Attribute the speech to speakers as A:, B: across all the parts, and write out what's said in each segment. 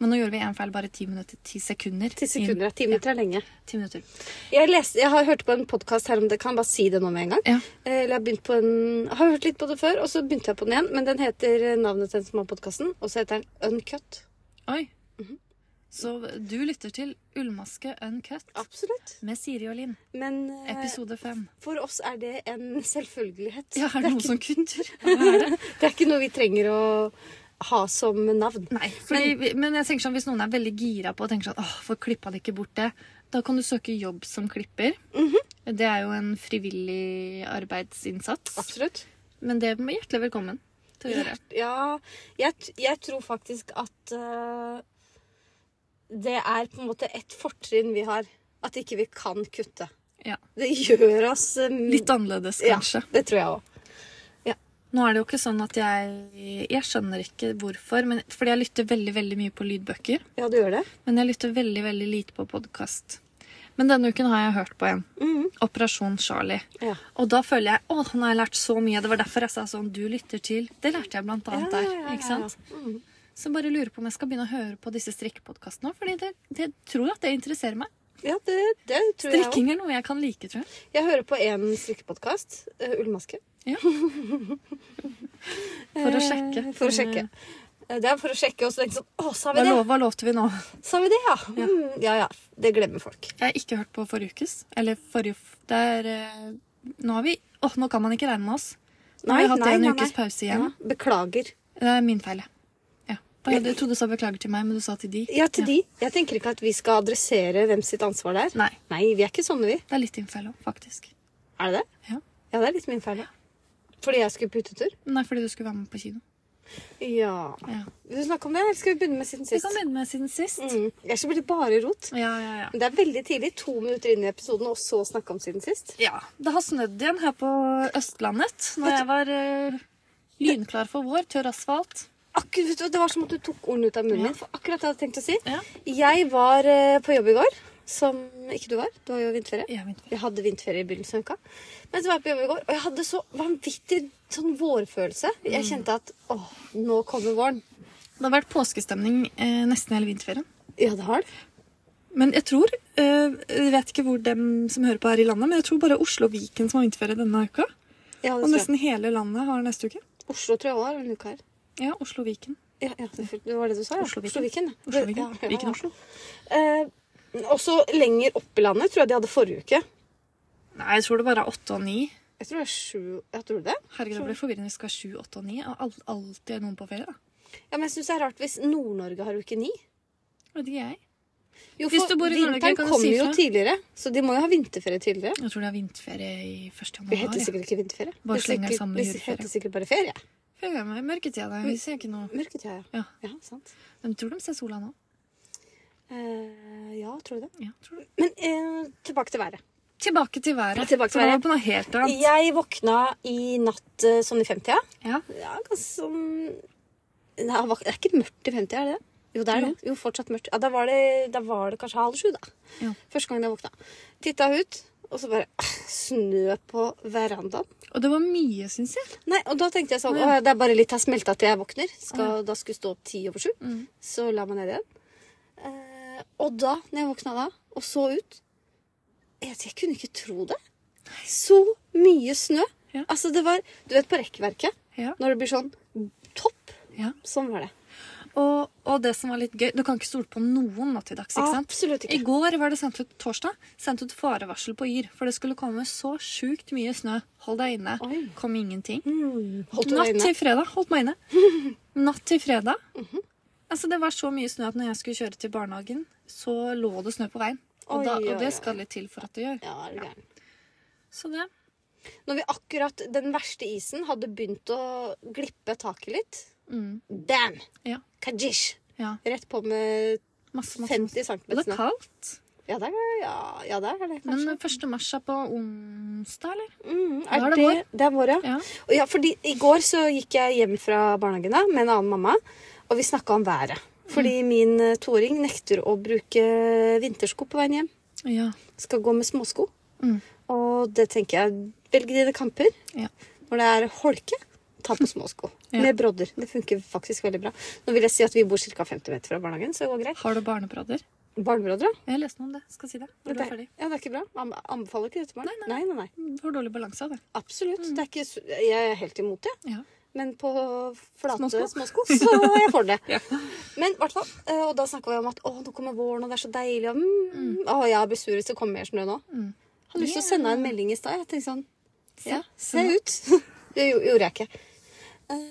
A: Men nå gjorde vi én feil bare ti minutter. Ti sekunder.
B: Ti sekunder. Ti minutter er lenge.
A: Inn- ti minutter.
B: Jeg, leste, jeg har hørt på en podkast her om det. Kan jeg bare si det nå med en gang?
A: Ja.
B: Eh, Eller jeg har begynt på en, har hørt litt på det før, og så begynte jeg på den igjen. Men den heter eh, navnet til den som har podkasten, og så heter den Uncut.
A: Oi.
B: Mhm.
A: Så du lytter til Ullmaske uncut
B: Absolutt.
A: med Siri og Linn,
B: Men eh,
A: episode fem.
B: for oss er det en selvfølgelighet.
A: Ja,
B: det,
A: er det
B: er
A: noen
B: ikke,
A: som kutter?
B: det er ikke noe vi trenger å ha som navn.
A: Nei. Fordi, vi- men jeg tenker sånn, hvis noen er veldig gira på og tenker sånn Åh, får klippa det ikke bort det? Da kan du søke jobb som klipper.
B: Mhm.
A: Det er jo en frivillig arbeidsinnsats.
B: Absolutt.
A: Men det er hjertelig velkommen til å gjøre.
B: Ja, jeg, t- jeg tror faktisk at eh, det er på en måte et fortrinn vi har. At ikke vi kan kutte.
A: Ja.
B: Det gjør oss eh, m-
A: Litt annerledes, kanskje.
B: Ja, det tror jeg òg.
A: Nå er det jo ikke sånn at jeg Jeg skjønner ikke hvorfor, men, fordi jeg lytter veldig veldig mye på lydbøker.
B: Ja, du gjør det?
A: Men jeg lytter veldig veldig lite på podkast. Men denne uken har jeg hørt på en.
B: Mm.
A: Operasjon Charlie.
B: Ja.
A: Og da føler jeg å, nå har jeg lært så mye. Det var derfor jeg sa sånn Du lytter til Det lærte jeg blant annet
B: Ja,
A: der.
B: ja, ja,
A: ikke sant? Så jeg bare lurer på om jeg skal begynne å høre på disse strikkepodkastene. Fordi det, det tror jeg at det interesserer meg.
B: Ja, det, det tror jeg òg.
A: Strikking er noe jeg kan like, tror jeg.
B: Jeg hører på én strikkepodkast, eh, Ullmaske.
A: Ja. For å sjekke.
B: Eh, For å sjekke. Eh, Det er for å sjekke, og så tenke sånn Å, sa vi det?
A: Hva, Mm. lov, hva lovte vi nå?
B: Sa vi det, ja? Mm, ja ja. Det glemmer folk.
A: Jeg har ikke hørt på forrige ukes. Eller forrige f- det er, eh, Nå har vi Åh, nå kan man ikke regne med oss. Nå har vi hatt en ukes pause igjen.
B: Ja, beklager.
A: Det er min feil. ja. Ja. Da hadde- Jeg trodde du sa beklager til meg, men du sa til de.
B: Ja, til de. Jeg tenker ikke at vi skal adressere hvem sitt ansvar det er.
A: Nei.
B: vi er ikke sånne, vi.
A: Det er litt din feil òg, faktisk.
B: Er det det?
A: Ja.
B: Ja, det er litt min feil. da. Fordi jeg skulle på utetur?
A: Nei, fordi du skulle være med på kino.
B: Ja.
A: Ja.
B: Vil du snakke om det, eller skal vi begynne med siden
A: Vi
B: sist?
A: kan begynne med siden sist.
B: Mm. Ellers blir det bare rot.
A: Ja, ja, ja.
B: Men det er veldig tidlig, to minutter inn i episoden, og så snakke om siden sist.
A: ja. Det har snødd igjen her på Østlandet. Når jeg var eh, lynklar for vår, tørr asfalt.
B: Akkurat, vet du, hva, det var som at du tok ordene ut av munnen
A: Ja.
B: min. For akkurat det jeg hadde tenkt å si.
A: Ja.
B: Jeg var eh, på jobb i går, som ikke du var. Du har jo vinterferie.
A: Ja, vent.
B: Jeg hadde vinterferie i begynnelsen av uka. Men så var jeg på jobb i går, og jeg hadde så vanvittig sånn vårfølelse. Jeg
A: Mm.
B: kjente at åh, nå kommer våren.
A: Det har vært påskestemning eh, nesten hele vinterferien.
B: Ja, det har det.
A: Men jeg tror eh, Jeg vet ikke hvor dem som hører på her i landet, men jeg tror bare Oslo og Viken som har vinterferie denne uka.
B: Ja, det
A: Og
B: tror jeg.
A: nesten hele landet har neste uke.
B: Oslo tror jeg også har en uke her.
A: Ja, Oslo og Viken.
B: Ja, ja, det det var det du sa, ja.
A: Oslo-Viken.
B: Oslo-Viken.
A: Oslo, Viken.
B: Ja, ja, ja.
A: Viken, Oslo.
B: Eh, også lenger opp i landet tror jeg de hadde forrige uke.
A: Nei, jeg tror det bare er åtte og ni.
B: Jeg tror det er sju Jeg tror det.
A: Herregud, det blir forvirrende. Vi skal ha sju, åtte og ni. Og al- alltid er noen på ferie, da.
B: Ja, men jeg syns det er rart hvis Nord-Norge har uke ni.
A: Vet ikke jeg.
B: Jo,
A: Hvis du bor i Nord-Norge,
B: vinteren
A: kan du
B: kommer
A: si
B: jo
A: fra.
B: tidligere, så de må jo ha vinterferie tidligere.
A: Jeg tror det er vinterferie i 1.
B: Vi
A: januar.
B: heter
A: ja.
B: sikkert ikke vinterferie.
A: Bare
B: Vi
A: slenger
B: sikkert-
A: sammen
B: vi
A: juleferie.
B: heter sikkert bare ferie.
A: Følg meg i mørketida. da. Vi ser ikke noe
B: Mørketida, ja.
A: Ja.
B: Ja, sant.
A: De tror de ser sola nå.
B: Eh, ja, tror du det?
A: Ja, tror du.
B: Men eh, tilbake til været.
A: Tilbake til været.
B: Tilbake til
A: Så nå er
B: været.
A: vi på noe helt annet.
B: Jeg våkna i natt eh, sånn i 50-tida.
A: Ja.
B: Ja, ganske sånn Nei, det var- det er ikke mørkt i 50, er det det? Jo, det er det. Jo, fortsatt mørkt. Ja, da var det, da var det kanskje halv sju, da.
A: Ja.
B: Første gangen jeg våkna. Titta ut, og så bare ah, Snø på verandaen.
A: Og det var mye, syns jeg.
B: Nei, og da tenkte jeg sånn
A: Å,
B: Å,
A: ja.
B: det er bare litt jeg smelta til jeg våkner. Skal, Da skulle jeg stå opp ti over sju.
A: Mm.
B: Så la meg ned igjen. Eh, og da, når jeg våkna da, og så ut Jeg, jeg kunne ikke tro det. Så mye snø.
A: Ja.
B: Altså, det var Du vet på rekkverket,
A: Ja.
B: når det blir sånn topp
A: Ja.
B: Sånn var det.
A: Og, og det som var litt gøy Du kan ikke stole på noen nå til dags.
B: Ah.
A: ikke sant?
B: Absolutt
A: I
B: ikke.
A: går var det sendt ut torsdag, sendt ut farevarsel på Yr. For det skulle komme så sjukt mye snø. Hold deg inne.
B: Oi.
A: Kom ingenting.
B: Mm. Holdt du deg
A: Natt
B: inne? Mhm.
A: til fredag. Holdt meg inne. Natt til fredag. Altså Det var så mye snø at når jeg skulle kjøre til barnehagen, så lå det snø på veien. Og,
B: Oi,
A: da,
B: oi,
A: og
B: oi.
A: det skal litt til for at det gjør.
B: Ja, er du gæren.
A: Så det
B: Når vi akkurat den verste isen hadde begynt å glippe taket litt
A: mm,
B: Damn!
A: Ja.
B: Kajish!
A: ja.
B: Rett på med
A: Masse, masse, masse.
B: 50 cm
A: Og det er
B: snø.
A: kaldt.
B: Ja, det er, ja, ja, det, er det
A: Men
B: kanskje.
A: 1. mars er på onsdag, eller?
B: Mm,
A: da
B: er
A: er det
B: det, det er vår, ja.
A: Ja.
B: Og ja, fordi I går så gikk jeg hjem fra barnehagen da, med en annen mamma, og vi snakka om været. Fordi min eh, toåring nekter å bruke eh, vintersko på veien hjem.
A: ja.
B: Skal gå med småsko.
A: Mm.
B: Og det tenker jeg Velg dine kamper.
A: Ja.
B: Når det er holke, ta på småsko.
A: Ja.
B: Med brodder. Det funker faktisk veldig bra. Nå vil jeg si at vi bor ca. 50 meter fra barnehagen, så det går greit.
A: Har du barnebrodder?
B: Barnebrodder, ja.
A: Jeg leste noe om det. Skal si det når du
B: Det,
A: er ferdig.
B: ja, det er ikke bra. An- Anbefaler ikke det til barn. Nei, nei, nei.
A: Får dårlig balanse av det.
B: Absolutt.
A: Mm.
B: Det er ikke, s- jeg er helt imot det.
A: Ja.
B: Men på flate
A: Småsko.
B: småsko, så er jeg for det.
A: Ja.
B: Men i hvert fall, eh, og da snakka vi om at å, nå kommer våren, og det er så deilig. Og, mm, Å, jeg blir sur hvis det kommer mer snø nå.
A: Mm.
B: Hadde lyst til å sende deg en melding i stad. Jeg tenkte sånn
A: Se,
B: Ja, se ut. det gjo- gjorde jeg ikke. Eh,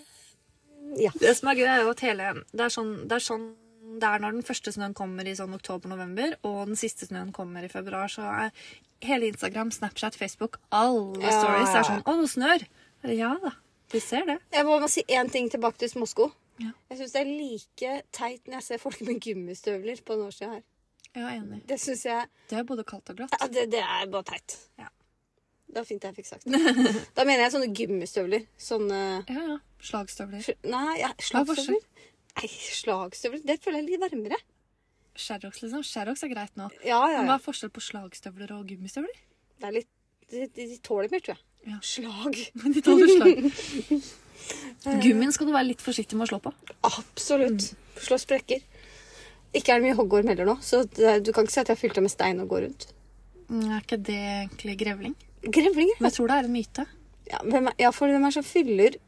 B: ja.
A: Det som er gøy, er jo at hele Det er sånn det er, sånn, det er når den første snøen kommer i sånn oktober-november, og den siste snøen kommer i februar, så er hele Instagram, Snapchat, Facebook, alle
B: Ja.
A: stories er sånn 'Å, nå snør!' Ja da. Vi ser det.
B: Jeg må bare si én ting tilbake til småsko.
A: Ja.
B: Jeg syns det er like teit når jeg ser folk med gummistøvler på den årstida her.
A: Jeg er enig.
B: Det synes jeg
A: Det er både kaldt og glatt.
B: Ja, det, det er bare teit.
A: Ja.
B: Det var fint jeg fikk sagt det. Da mener jeg sånne gymmistøvler. Sånne
A: Ja, ja. Slagstøvler.
B: sl- Nei, ja, slagstøvler. Nei, slagstøvler. Det føler jeg er litt varmere.
A: Sherrox, liksom. Sherrox er greit nå.
B: Ja, ja,
A: Men
B: ja.
A: hva er forskjell på slagstøvler og gummistøvler?
B: Det er litt, de, de, de tåler mer, tror jeg.
A: Ja.
B: Slag.
A: De tåler slag. Gummien skal du være litt forsiktig med å slå på.
B: Absolutt. Slå sprekker. Ikke er det mye hoggorm heller nå, så det, du kan ikke si at jeg har fylt det med stein og går rundt.
A: Mm, Er ikke det egentlig grevling?
B: Grevlinger.
A: Men jeg tror det er en myte.
B: Ja, hvem er, ja, for hvem er det som fyller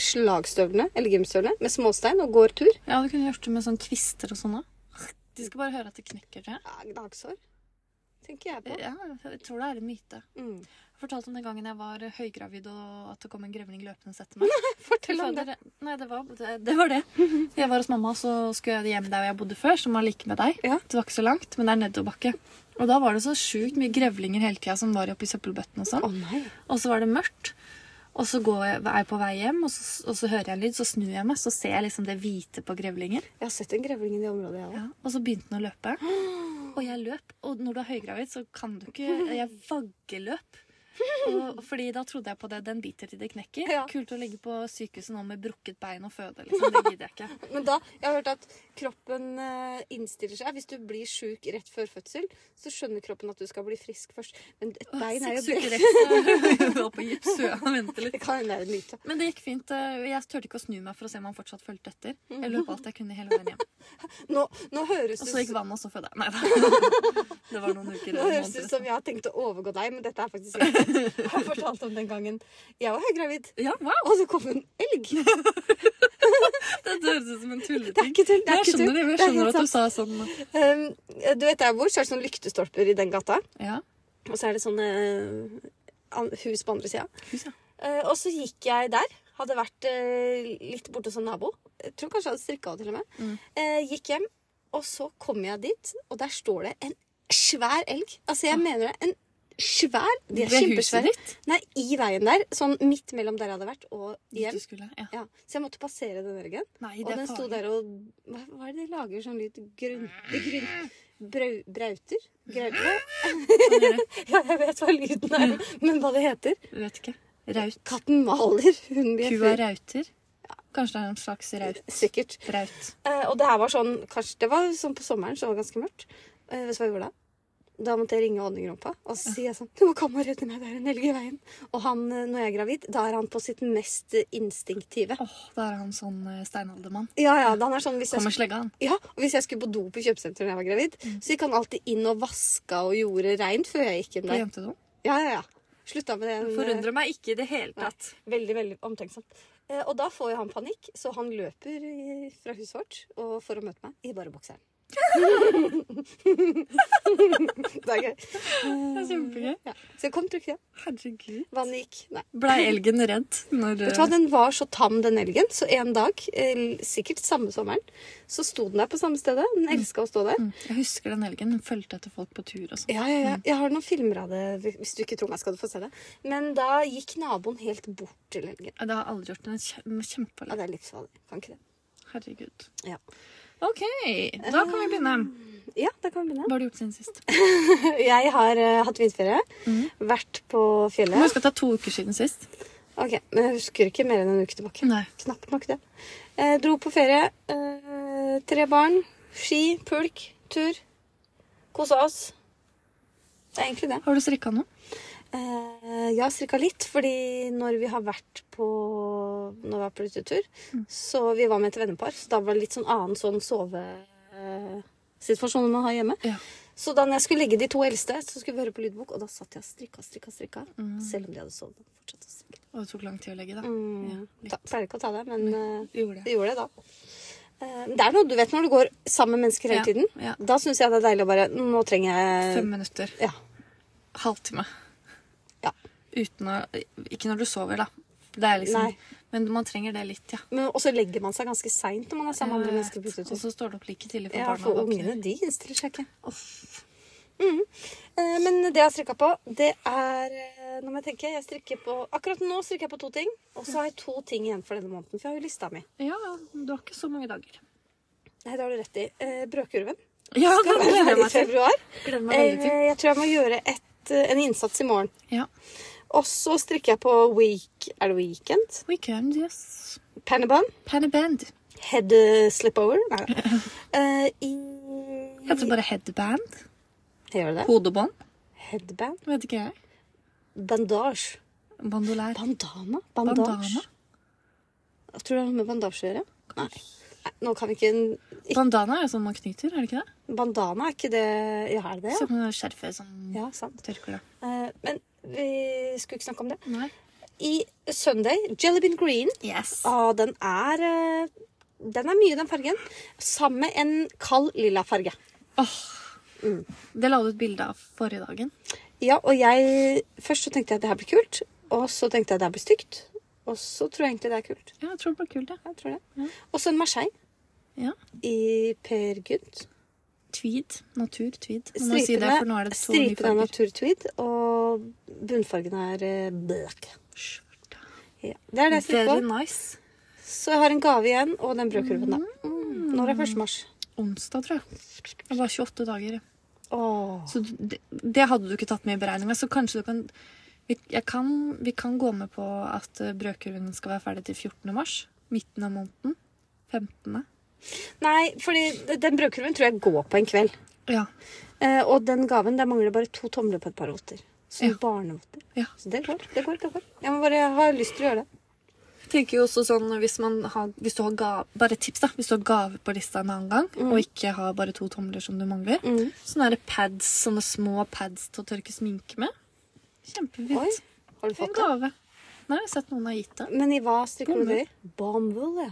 B: slagstøvlene, eller gymstøvlene, med småstein og går tur?
A: Ja, du kunne gjort det med sånn kvister og sånn òg. De skal bare høre at det knekker, tror jeg.
B: Ja, Gnagsår, tenker jeg på.
A: Ja, jeg tror det er en myte.
B: Mm.
A: Jeg fortalte om den gangen jeg var eh, høygravid, og at det kom en grevling løpende og sette meg.
B: Fortell om det.
A: Fader, Nei, det var det, det var det. Jeg var hos mamma, så skulle jeg hjem der jeg bodde før, som var like med deg.
B: Ja.
A: Det var ikke så langt, men det er nedoverbakke. Og da var det så sjukt mye grevlinger hele tida som var oppi søppelbøttene og sånn.
B: Å nei.
A: Og så var det mørkt. Og så går jeg, er jeg på vei hjem, og så, og så hører jeg en lyd, så snur jeg meg, så ser jeg liksom det hvite på grevlingen.
B: Jeg har sett en grevling i det området, jeg òg.
A: Ja, og så begynte den å løpe. Og jeg løp. Og når du er høygravid, så kan du ikke Jeg vaggeløp. Og, fordi da trodde jeg på det. Den biter til det knekker.
B: Ja.
A: Kult å ligge på sykehuset nå med brukket bein og føde. Liksom. Det gidder jeg ikke.
B: Men da, jeg har hørt at kroppen eh, innstiller seg. Hvis du blir sjuk rett før fødsel, så skjønner kroppen at du skal bli frisk først. Men et bein er jo
A: Seks uker ekstra. Var på gips, så jeg venter litt.
B: Det kan hende det er en myte.
A: Men det gikk fint. Jeg turte ikke å snu meg for å se om han fortsatt fulgte etter. Jeg løp alt jeg kunne hele veien hjem.
B: Nå, nå høres
A: Og
B: det
A: så gikk
B: ut
A: vannet, og så fødte jeg. Nei da. Det var noen uker.
B: nå
A: eller
B: høres det
A: måneder.
B: ut som jeg har tenkt å overgå deg, men dette er faktisk ikke sant. Jeg har fortalt om den gangen jeg var høygravid,
A: Ja, wow!
B: og så kom en elg. Det
A: Det høres ut som en
B: er
A: tulleting.
B: ikke tull. Det er
A: Jeg
B: ikke
A: skjønner
B: tull.
A: det. men Jeg
B: Det er
A: skjønner
B: helt
A: at du sa sånn
B: sant. Um, du vet der jeg bor, så er det sånne lyktestolper i den gata.
A: Ja.
B: Og så er det sånne eh, an- hus på andre sida.
A: Hus, ja.
B: Eh, og så gikk jeg der. Hadde vært eh, litt borte hos en nabo. Jeg tror kanskje jeg hadde strikka av til og med.
A: Mm.
B: Eh, gikk hjem, og så kom jeg dit, og der står det en svær elg. Altså, jeg mener det. En svær De er
A: Ved Ah. huset
B: kjempesvære.
A: ditt?
B: Nei, i veien der. Sånn midt mellom der jeg hadde vært, og
A: Dit
B: hjem.
A: du skulle, ja.
B: Ja, så jeg måtte passere den elgen.
A: Nei,
B: Og
A: det er
B: den sto
A: farlig.
B: der og Hva, hva er det de lager sånn lyd? Grunn... grunn brau, brauter? Graute?
A: Sånn gjør det.
B: Ja, jeg vet hva lyden er, men hva det heter.
A: Du vet ikke. Raut.
B: Katten maler, hunden
A: Kua
B: bjeffer.
A: rauter. Kanskje det er en slags raut.
B: Sikkert.
A: Raut.
B: Eh, og det her var sånn kanskje, Det var sånn på sommeren, så det var ganske mørkt. Eh, vet du hva jeg gjorde da? Da måtte jeg ringe Honningrumpa og så sier jeg sånn Du må komme og redde meg, det er en elg i veien. Og han, eh, når jeg er gravid, da er han på sitt mest instinktive.
A: Åh, da er han sånn eh, steinaldermann.
B: Ja, ja, da han er sånn hvis jeg,
A: Kommer slegga, han.
B: sk- ja, og hvis jeg skulle på do på kjøpesenteret da jeg var gravid, så gikk han alltid inn og vaska og gjorde reint før jeg gikk inn
A: På
B: der.
A: jentedoen.
B: Ja, ja, ja. Slutta med det. en, eh,
A: Forundrer meg ikke i det hele
B: Nei.
A: tatt.
B: Veldig, veldig omtenksomt. Eh, og da får jo han panikk, så han løper i- fra huset vårt og for å møte meg i bare bokseren. det er gøy.
A: Det er kjempegøy.
B: Ja. Så jeg kom til ikke det.
A: Herregud.
B: Vannet gikk. Nei.
A: Blei elgen redd når eh,
B: Vet du hva, Den var så tam, den elgen, så en dag, eh, sikkert samme sommeren, så sto den der på samme stedet. Den elska å stå der.
A: Mm, Jeg husker den elgen. Den fulgte etter folk på tur og sånn.
B: Ja, ja, ja. Jeg har noen filmer av det. hvis- Hvis du ikke tror meg, skal du få se det. Men da gikk naboen helt bort til elgen.
A: Ja, Det har jeg aldri gjort. Den er kjem-
B: Ja,
A: kjempeallergisk.
B: det er livsfarlig. Kan ikke det.
A: Herregud.
B: Ja.
A: OK, da kan vi begynne.
B: Ja, da kan vi begynne.
A: Hva har du gjort siden sist?
B: Jeg har eh, hatt vinterferie. Vært på
A: Jeg
B: fjellet.
A: husker at det er to uker siden sist.
B: Ok, Men jeg husker ikke mer enn en uke tilbake.
A: Nei.
B: Knapt nok det. Eh, dro på ferie. Eh, tre barn. Ski, pulk, tur. Kosa oss. Det er egentlig det.
A: Har du strikka noe?
B: Eh, jeg har strikka litt, fordi når vi har vært på Når vi var på utetur,
A: Mm.
B: så vi var med et vennepar, så da var det litt sånn annen sånn sovesituasjon man har hjemme.
A: Ja.
B: Så da når jeg skulle legge de to eldste, så skulle vi høre på lydbok, og da satt jeg og strikka, strikka, strikka.
A: Mm.
B: Selv om de hadde sovet. Fortsatt å strikke.
A: Og det tok lang tid å legge, da.
B: Mm.
A: litt.
B: Ta, pleier ikke å ta det, men eh,
A: Du gjorde det.
B: det gjorde det da. Eh, Det er noe du vet når du går sammen med mennesker hele
A: Ja,
B: tiden.
A: ja.
B: Da syns jeg det er deilig å bare Nå trenger jeg
A: Fem minutter.
B: Ja.
A: Halvtime.
B: Ja.
A: Uten å Ikke når du sover, da. Det er liksom
B: Nei.
A: Men man trenger det litt, ja.
B: Men, og så legger man seg ganske seint når man er sammen med
A: Jeg
B: andre mennesker. på
A: vet.
B: utetur.
A: Og så står du opp like tidlig for
B: Ja,
A: barna.
B: for
A: våkner.
B: ungene de innstiller seg ikke.
A: Uff.
B: Eh, Men det jeg har strikka på, det er eh, Nå må jeg tenke. Jeg strikker på Akkurat nå strikker jeg på to ting. Og så har jeg to ting igjen for denne måneden, for jeg har jo lista mi.
A: Ja, du har ikke så mange dager.
B: Nei, det har du rett i. Eh, Brødkurven
A: Ja, det
B: skal
A: gleder
B: være
A: jeg
B: her i
A: meg til.
B: februar.
A: Gleder meg veldig til.
B: Eh, Jeg tror jeg må gjøre et, eh, en innsats i morgen.
A: Ja.
B: Og så strikker jeg på week, er det weekend.
A: Weekend, yes.
B: Pannebånd.
A: Panneband.
B: Head eh, slipover. Nei da. Eh, I
A: Heter det bare headband?
B: Gjør det det?
A: Hodebånd?
B: Headband.
A: Vet ikke jeg.
B: Bandage.
A: Bandolær.
B: Bandana?
A: Bandana?
B: Bandage. Jeg tror det har noe med bandasje å gjøre. Nei. Nei, Nå kan vi ikke ikke-
A: Bandana er jo sånn man knyter, er det ikke det?
B: Bandana, er ikke det Ja, er det det? Ja,
A: Som sånn skjerfet som
B: ja sant.
A: tørker det.
B: Eh, men vi skulle ikke snakke om det.
A: Nei.
B: I Sunday, Jelly Bean Green
A: Yes.
B: ah, Den er eh, Den er mye, den fargen. Sammen med en kald lilla farge.
A: Det la du et bilde av forrige dagen.
B: Ja, og jeg Først så tenkte jeg at det her blir kult, og så tenkte jeg at det her blir stygt. Og så tror jeg egentlig det er kult.
A: Ja, jeg tror det ble kult, det.
B: Jeg tror det. Og så en Marseille
A: Ja.
B: i Per Gynt.
A: Tweed. Natur, tweed. Man må si det, for nå
B: Stripene,
A: er det to
B: stripene
A: nye
B: er
A: farger.
B: naturtweed, og bunnfargen er eh, black.
A: Skjorta.
B: Ja. Det er det jeg
A: Very
B: stikker på.
A: nice.
B: Så jeg har en gave igjen, og den brødkurven, da. Mm. Når er 1. mars?
A: Onsdag, tror jeg. Det var 28 dager.
B: Åh.
A: Så du- det, det hadde du ikke tatt med i beregninga, så kanskje du kan vi, jeg kan vi kan gå med på at eh, brødkurven skal være ferdig til 14. mars. Midten av måneden. 15.
B: Nei, fordi den brødkurven tror jeg går på en kveld.
A: Ja.
B: Eh, og den gaven, der mangler bare to tomler på et par votter. Som
A: Ja.
B: barnevotter.
A: ja.
B: Så det går, det går, det går. Jeg må bare ha lyst til å gjøre det.
A: Jeg tenker jo også sånn, hvis, man har, hvis du har ga- bare et tips da, hvis du har gave på lista en annen gang, og ikke har bare to tomler som du mangler,
B: Mm.
A: sånne der pads, sånne små pads til å tørke sminke med. Kjempefint.
B: Oi, har du
A: en
B: fått det?
A: gave. Nei, jeg har sett noen har gitt det.
B: Men i hva strikker du det i?
A: Bomull.
B: Bomull, ja.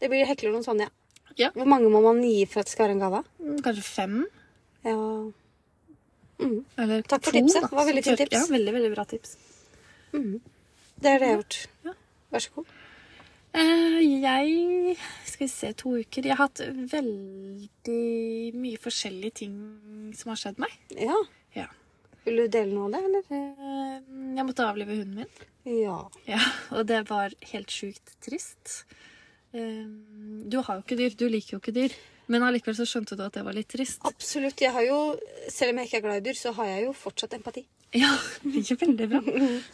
B: Det blir hekler noen sånne, ja.
A: Ja.
B: Hvor mange må man gi for at det skal være en gave?
A: Mm, Kanskje fem,
B: Ja.
A: eller
B: Takk for
A: to,
B: tipset.
A: da,
B: Det var veldig
A: som
B: fint
A: tørker- Ja,
B: tips.
A: veldig, veldig bra tips.
B: Det er det jeg har gjort.
A: Ja.
B: Vær så god.
A: Eh, jeg skal vi se, to uker. Jeg har hatt veldig mye forskjellige ting som har skjedd meg.
B: Ja.
A: Ja.
B: Vil du dele noe av det, eller?
A: Eh, jeg måtte avlive hunden min.
B: Ja.
A: Ja, og det var helt sjukt trist. Eh, Du har jo ikke dyr, du liker jo ikke dyr. Men allikevel så skjønte du at det var litt trist.
B: Absolutt. Jeg har jo, selv om jeg ikke er glad i dyr, så har jeg jo fortsatt empati.
A: Ja, ikke veldig bra.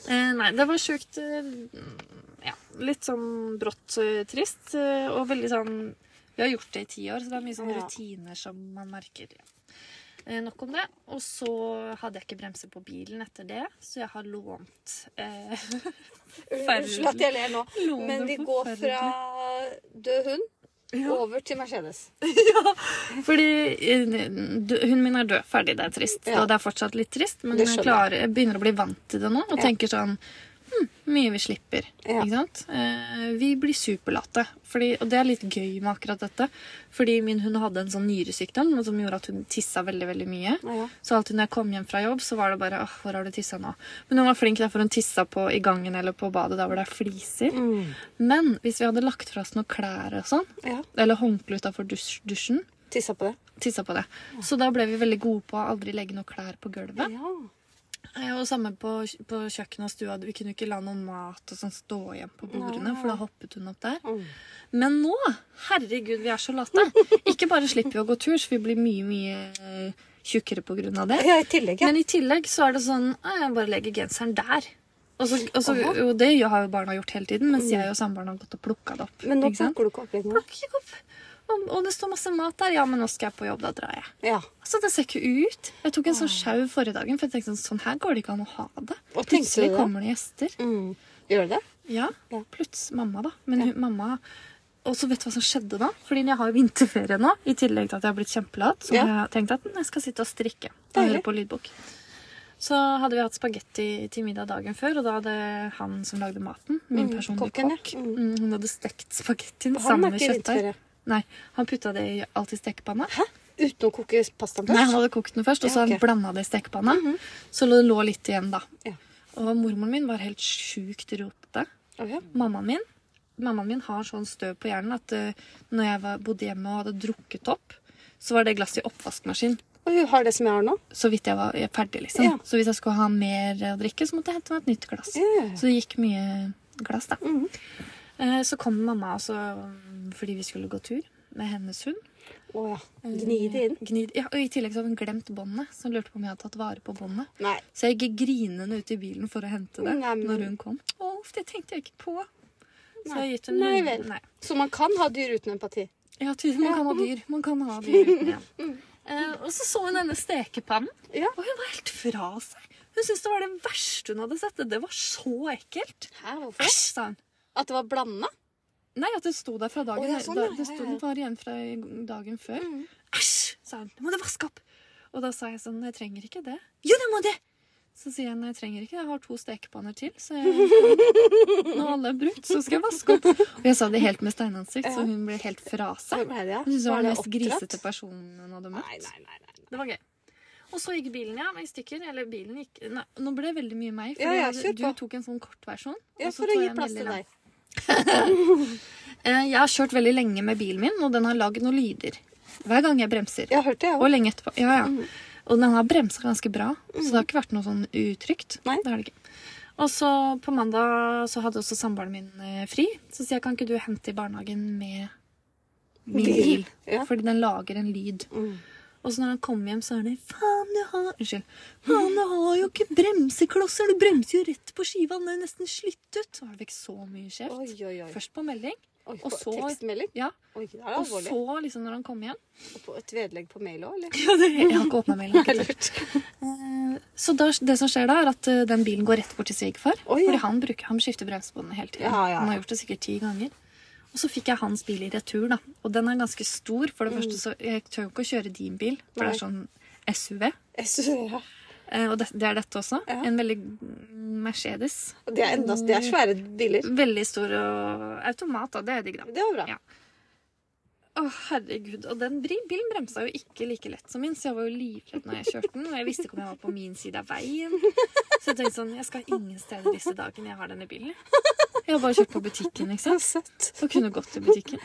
A: Eh, Nei, det var sjukt eh, ja, Litt sånn brått eh, trist. eh, Og veldig sånn Vi har gjort det i ti år, så det er mye sånne
B: Ja.
A: rutiner som man merker. ja. Eh, Nok om det. Og så hadde jeg ikke bremser på bilen etter det, så jeg har lånt eh,
B: Unnskyld at jeg ler nå,
A: Lån
B: men
A: er
B: vi går fra død hund over til Mercedes.
A: Fordi eh, dø- hunden min er død. Ferdig, det er trist.
B: Ja.
A: Og det er fortsatt litt trist, men
B: Det
A: jeg,
B: skjønner
A: klarer, jeg begynner å bli vant til det nå og tenker sånn hm, Mye vi slipper.
B: Ja.
A: Ikke sant? Eh, vi blir superlate. Fordi, og det er litt gøy med akkurat dette. Fordi min hund hadde en sånn nyresykdom noe som gjorde at hun tissa veldig veldig mye.
B: Ja, ja.
A: Så alltid når jeg kom hjem fra jobb, så var det bare åh, hvor har du tissa nå? Men hun var flink derfor hun tissa på i gangen eller på badet der hvor det er fliser. Men hvis vi hadde lagt fra oss noen klær og sånn,
B: Mm. Ja.
A: eller håndkle utafor dusj, dusjen,
B: Tissa på det.
A: tissa på det. Så da ble vi veldig gode på å aldri legge noe klær på gulvet.
B: Ja.
A: Eh, Og samme på, på kjøkkenet og stua. Vi kunne jo ikke la noe mat og sånn stå igjen på bordene, for da hoppet hun opp der.
B: Mm.
A: Men nå, herregud, vi er så late. Ikke bare slipper vi å gå tur, så vi blir mye, mye eh, tjukkere på grunn av det.
B: Ja, i tillegg, ja.
A: Men i tillegg så er det sånn «Nei, Jeg bare legger genseren der. Og, så, og, så,
B: Aha.
A: og det har jo barna gjort hele tiden, mens jeg og samboeren har gått og plukka det opp.
B: Men nå
A: ikke sant?
B: plukker du ikke opp lenger.
A: Plukker ikke opp. Og, og det står masse mat der. Ja, men nå skal jeg på jobb. Da drar jeg.
B: Ja.
A: Altså, Det ser ikke ut. Jeg tok en sånn sjau forrige dagen, for jeg tenkte sånn, sånn her går det ikke an å ha det.
B: Og tenkte
A: Plutselig
B: du det?
A: kommer det gjester.
B: Mm. Gjør du det?
A: Ja,
B: Ja.
A: plutselig mamma, da. Men hun, mamma Og så vet du hva som skjedde da? Fordi jeg har jo vinterferie nå, i tillegg til at jeg har blitt kjempelat. Så
B: Ja.
A: jeg har tenkt at "Nei, jeg skal sitte og strikke og
B: Deilig.
A: høre på lydbok. Så hadde vi hatt spagetti til middag dagen før, og da hadde han som lagde maten, min
B: Mm,
A: personlige
B: kokken, ja.
A: kokk,
B: Mm.
A: mm, hun hadde stekt
B: Han
A: spagettien
B: er
A: sammen med
B: ikke i
A: kjøttdeig.
B: vinterferie.
A: Nei, han putta det i alt i stekepanna.
B: Uten å koke pastaen
A: Nei, han
B: først?
A: hadde kokt den først, og
B: Ja,
A: så
B: ok. Mhm.
A: blanda det i stekepanna. Så det lå litt igjen, da.
B: Ja.
A: Og mormoren min var helt sjukt rotete.
B: Å, ja.
A: Mammaen min Mammaen min har sånn støv på hjernen at eh, når jeg var, bodde hjemme og hadde drukket opp, så var det glass i oppvaskmaskin.
B: Og hun har det som jeg har nå?
A: Så vidt jeg var jeg er ferdig, liksom.
B: Ja.
A: Så hvis jeg skulle ha mer å drikke, så måtte jeg hente meg et nytt glass.
B: Ja. Mm.
A: Så det gikk mye glass, da. Eh, Så kom mamma også mm, fordi vi skulle gå tur med hennes hund. Eh,
B: Å ja. Gni det inn?
A: Gnid, ja, og I tillegg så hadde hun glemt båndet, så hun lurte på om jeg hadde tatt vare på båndet.
B: Nei.
A: Så jeg gikk grinende ut i bilen for å hente det
B: Nei, Mm, men-
A: når hun kom. Å, uff, det tenkte jeg ikke på. Så jeg har gitt henne
B: Nei
A: hundre-
B: vel.
A: Nei.
B: Så man kan ha dyr uten empati?
A: Ja, tydelig, man kan ha dyr. Man kan ha dyr uten igjen. Eh, og så så hun denne stekepannen,
B: Mm. Ja.
A: og hun var helt fra seg. Hun syntes det var det verste hun hadde sett. Det var så ekkelt.
B: Hæ, hvorfor?
A: Æsj, sa hun.
B: At det var blanda?
A: Nei, at det sto der fra dagen
B: Å, ja, sånn,
A: da,
B: ja,
A: Det
B: ja,
A: sto
B: ja. Mm.
A: den var igjen fra i dagen før. Æsj, sa hun. Nå må du vaske opp. Og da sa jeg sånn, jeg trenger ikke det. Jo, det må det! Så sier jeg, nei, jeg trenger ikke det. Jeg har to stekepanner til, så jeg, når alle er brukt, så skal jeg vaske opp. Og jeg sa det helt med steinansikt, så hun ble helt fra
B: Hvor
A: seg.
B: ble det, ja?
A: Hun syntes det var den mest
B: oppdratt?
A: grisete personen hun hadde møtt.
B: Nei, nei, nei. nei.
A: Det var gøy. Og så gikk bilen, ja, i stykker. Eller bilen gikk Nei, nå ble det veldig mye meg. For
B: Ja, ja,
A: jeg-
B: kjør
A: du
B: på.
A: tok en sånn kort versjon.
B: Ja,
A: og så
B: for
A: tar
B: å
A: jeg
B: gi
A: en
B: plass
A: veldig
B: til
A: lang.
B: deg.
A: Eh, Jeg har kjørt veldig lenge med bilen min, og den har lagd noen lyder. Hver gang jeg bremser.
B: Jeg har hørt det, jeg
A: Og
B: òg.
A: lenge etterpå. Ja,
B: Mm.
A: ja. Og den har bremsa ganske bra, så det har ikke vært noe sånn utrygt.
B: Nei.
A: Det har det ikke. Og så på mandag så hadde også samboeren min eh, fri. Så sier jeg, kan ikke du hente i barnehagen med min
B: Bil.
A: bil?
B: Ja.
A: Fordi den lager en lyd.
B: Mm.
A: Og så når han kommer hjem, så er det Faen, du har Unnskyld.
B: Mm.
A: Faen, du har jo ikke bremseklosser! Du bremser jo rett på skiva! Den er jo nesten slitt ut! Så var det vekk så mye kjeft.
B: Oi, oi, oi.
A: Først på melding,
B: Oi,
A: og så-
B: Tekstmelding?
A: ja.
B: Oi, det er
A: og
B: alvorlig.
A: så liksom når han kom hjem
B: Og på et vedlegg på mail òg, eller?
A: Ja, det, jeg har ikke åpna mailen.
B: Det er
A: ikke sant?
B: lurt.
A: Eh, Så da, det som skjer da, er at eh, den bilen går rett bort til svigerfar.
B: Å, ja.
A: Fordi han, bruker, han skifter bremsebåndene hele tiden.
B: Ja, ja, ja.
A: Han har gjort det sikkert ti ganger. Og så fikk jeg hans bil i retur, da. Og den er ganske stor. For det
B: Mm.
A: første så Jeg tør jo ikke å kjøre din bil, for det er sånn SUV.
B: Jeg synes- ja.
A: Eh, Og det, det er dette også.
B: Ja.
A: En veldig mm, Mercedes.
B: Og Det er enda Det
A: Mm.
B: er svære biler.
A: Veldig stor og automat, da. Det er digg, da.
B: Det var bra.
A: Ja. Å, herregud. Og den bri- bilen bremsa jo ikke like lett som min, så jeg var jo livredd når jeg kjørte den. Og jeg visste ikke om jeg var på min side av veien. Så jeg tenkte sånn Jeg skal ingen steder disse dagene jeg har denne bilen. jeg. Jeg har bare kjørt på butikken, ikke sant.
B: Søtt.
A: Og kunne gått til butikken.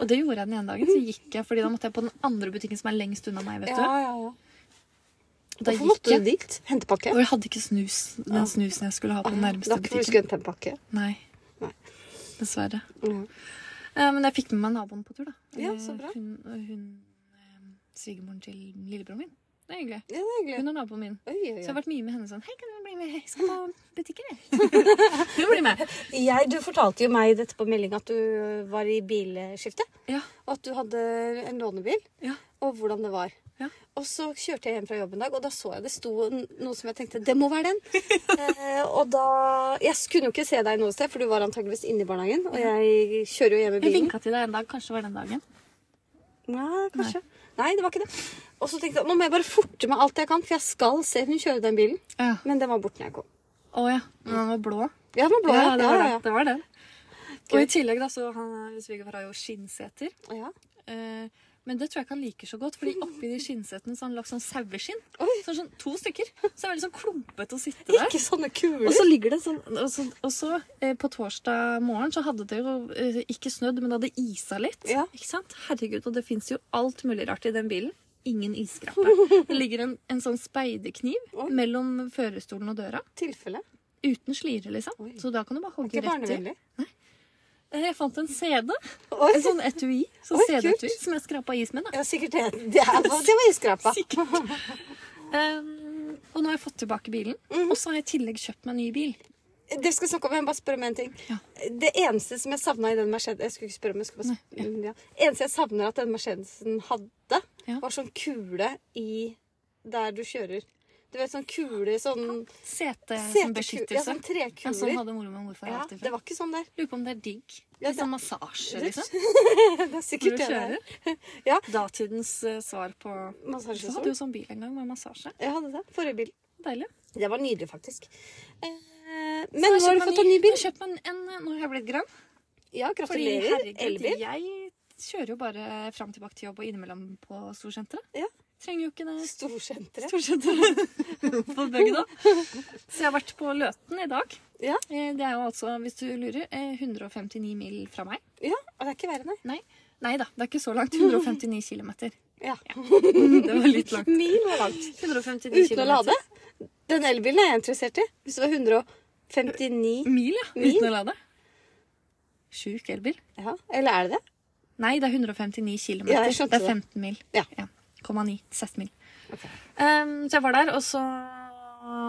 A: Og det gjorde jeg den ene dagen. Så gikk jeg, fordi da måtte jeg på den andre butikken som er lengst unna meg, vet
B: Ja,
A: du.
B: ja, ja.
A: Og Da
B: Hvorfor
A: gikk
B: måtte du
A: jeg.
B: dit? Hente pakke?
A: Og jeg hadde ikke snus, den snusen jeg skulle ha på den
B: Det var ikke
A: nærmeste
B: fordi du
A: butikken.
B: skulle hente en pakke.
A: Nei.
B: Nei.
A: Dessverre.
B: Ja.
A: Eh, Men jeg fikk med meg naboen på tur, da.
B: Ja,
A: Eh,
B: så bra.
A: Hun, og hun eh, svigermoren til lillebroren min. Det er hyggelig.
B: Ja, det er hyggelig.
A: Hun er naboen min.
B: Oi, oi,
A: Så jeg har
B: oi.
A: vært mye med henne sånn Hei, kan du bli med? Jeg skal på butikken, jeg. Hun blir med.
B: Jeg, du fortalte jo meg dette på melding at du var i bilskiftet.
A: Ja.
B: Og at du hadde en lånebil.
A: Ja.
B: Og hvordan det var.
A: Ja.
B: Og så kjørte jeg hjem fra jobb en dag, og da så jeg det sto n- noe som jeg tenkte Det må være den! eh, og da Jeg kunne jo ikke se deg noe sted, for du var antageligvis inne i barnehagen. Og jeg kjører jo hjem i
A: Jeg
B: bilen.
A: vinka til deg en dag. Kanskje det var den dagen.
B: Nei, kanskje. Nei. det var ikke det. Og så tenkte jeg nå må jeg bare forte meg alt jeg kan, for jeg skal se hun kjøre den bilen.
A: Å ja.
B: Men den var borte når jeg kom.
A: Men han var blå.
B: Ja, den var blå.
A: Ja, det var
B: ja,
A: den.
B: ja,
A: Det var den. Og
B: Gøy.
A: i tillegg, da, så han eh, svigerfar har jo skinnseter.
B: ja. ja.
A: Eh, Men det tror jeg ikke han liker så godt, fordi oppi de skinnsetene så har han lagt sånn saueskinn.
B: Oi.
A: Så sånn to stykker. Så det er veldig sånn klumpete å sitte der.
B: Ikke sånne kuler.
A: Og så ligger det sånn Og så, og så eh, på torsdag morgen så hadde det jo eh, ikke snødd, men det hadde isa litt.
B: Ja.
A: Ikke sant? Herregud, og det fins jo alt mulig rart i den bilen. ingen isskrape. Det ligger en, en sånn speiderkniv
B: Oi.
A: mellom førerstolen og døra.
B: Tilfelle.
A: Uten slire, liksom.
B: Oi.
A: Så da kan du bare
B: Ikke
A: hogge rett i.
B: barnevennlig.
A: Eh, Jeg fant en CD.
B: Oi.
A: En sånn etui. Sånn
B: Oi, kult.
A: CD-etui som jeg skrapa is med. da.
B: Ja, sikkert det. Det, er, det var iskrapa.
A: Sikkert. Um, og nå har jeg fått tilbake bilen.
B: Mhm.
A: Og så har jeg i tillegg kjøpt meg en ny bil.
B: Dere skal snakke om, jeg må bare spørre om en ting.
A: Ja.
B: Det eneste som jeg savna i den Mercedes Jeg skulle ikke spørre, men jeg skulle bare spørre. Ja. eneste jeg savner at den Mercedesen hadde,
A: Ja.
B: var sånn kule i der du kjører. Du vet, sånn kule sånn
A: Sete som
B: seteku- Ja,
A: beskyttelse.
B: sånn
A: Ja, sånn
B: trekuler.
A: hadde mormor og morfar
B: Ja, det
A: alltid før.
B: var ikke sånn der.
A: Lurer på om det er digg.
B: Ja,
A: Litt
B: det-
A: sånn massasje,
B: Det-
A: liksom.
B: Det er
A: Hvor
B: sikkert
A: du
B: det der.
A: kjører.
B: Ja.
A: Datidens eh, svar på Du hadde
B: Massasjesol.
A: jo sånn bil en gang med massasje.
B: Jeg hadde det. Forrige bil.
A: Deilig.
B: Det var nydelig, faktisk. Eh,
A: Så
B: men nå
A: jeg
B: har du
A: kjøpte meg
B: fått en ny bil.
A: Jeg kjøpte meg en, en, nå har jeg blitt grønn.
B: Ja,
A: Fordi
B: gratulerer.
A: herregud,
B: Elbil.
A: jeg kjører jo bare fram og tilbake til jobb og innimellom på storsenteret.
B: Ja.
A: Trenger jo ikke det
B: Storsenteret.
A: storsenteret på bygda. Så jeg har vært på Løten i dag.
B: Ja.
A: Eh, Det er jo altså, hvis du lurer, eh, 159 mil fra meg.
B: Ja, og det er ikke verre, nei.
A: Nei, nei da, det er ikke så langt. 159 km.
B: Ja.
A: Det var litt langt.
B: Mil var langt.
A: 159
B: Uten å
A: kilometer.
B: lade. Den elbilen er jeg interessert i. Hvis det var 159
A: Mil, ja.
B: Mil?
A: Uten å lade. Sjuk elbil.
B: ja. Eller er det det?
A: Nei, det er 159 km.
B: Ja, jeg
A: det
B: skjønte
A: er
B: det.
A: 15 mil.
B: Ja.
A: 0,9. 16 mil.
B: Ok.
A: Ehm, så jeg var der, og så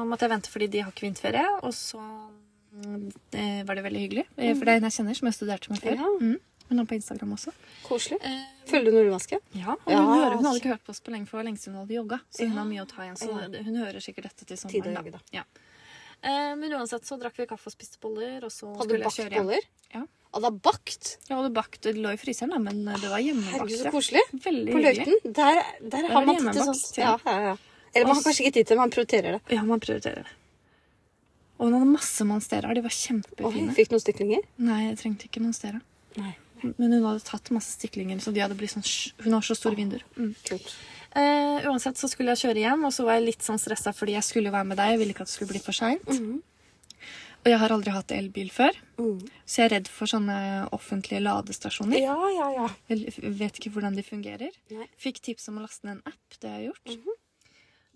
A: måtte jeg vente fordi de har ikke vinterferie. Og så mm, eh, var det veldig hyggelig. eh, For det er en jeg kjenner som jeg studerte med før.
B: Ja.
A: Mm. Hun er på Instagram også.
B: Koselig.
A: Eh,
B: Følger du nordmaske?
A: ja, og hun,
B: Ja. altså.
A: hører, hun hadde ikke hørt på oss på lenge, for det var lenge siden hun hadde jogga. Så hun
B: Ja.
A: har mye å ta igjen. Så
B: Ja.
A: hun hører sikkert dette
B: Tid
A: til
B: å
A: sommeren.
B: jogge, da.
A: Ja. Eh, men uansett så drakk vi kaffe og spiste boller, og så
B: Hadde du
A: skulle jeg
B: bakt
A: kjøre hjem.
B: boller?
A: Ja.
B: Hadde du bakt?
A: Jeg hadde bakt, det lå i fryseren, da, men eh, det var hjemmebakt.
B: Herregud, så
A: ja.
B: koselig.
A: Veldig
B: På
A: hyggelig.
B: Løiten, der, der
A: er
B: har man
A: det
B: tid til
A: hjemmebakt,
B: sånt. Ja,
A: ja.
B: ja, ja. Eller man har kanskje ikke tid til det, man prioriterer det.
A: Ja, man prioriterer det. Og hun hadde masse monsterer. De var
B: Oi,
A: kjempefine.
B: fikk noen styklinger?
A: Nei, jeg trengte ikke monstera.
B: Nei.
A: Men hun hadde tatt masse stiklinger, så de hadde blitt sånn sj- Hun har så store vinduer. Mm.
B: Kult.
A: Eh, uansett så skulle jeg kjøre hjem, og så var jeg litt sånn stressa fordi jeg skulle være med deg. Jeg ville ikke at det skulle bli for seint.
B: Mhm.
A: Og jeg har aldri hatt elbil før, så jeg er redd for sånne offentlige ladestasjoner.
B: Ja, ja, ja.
A: Jeg l- vet ikke hvordan de fungerer.
B: Nei. Mhm.
A: Fikk tips om å laste ned en app. Det har jeg gjort.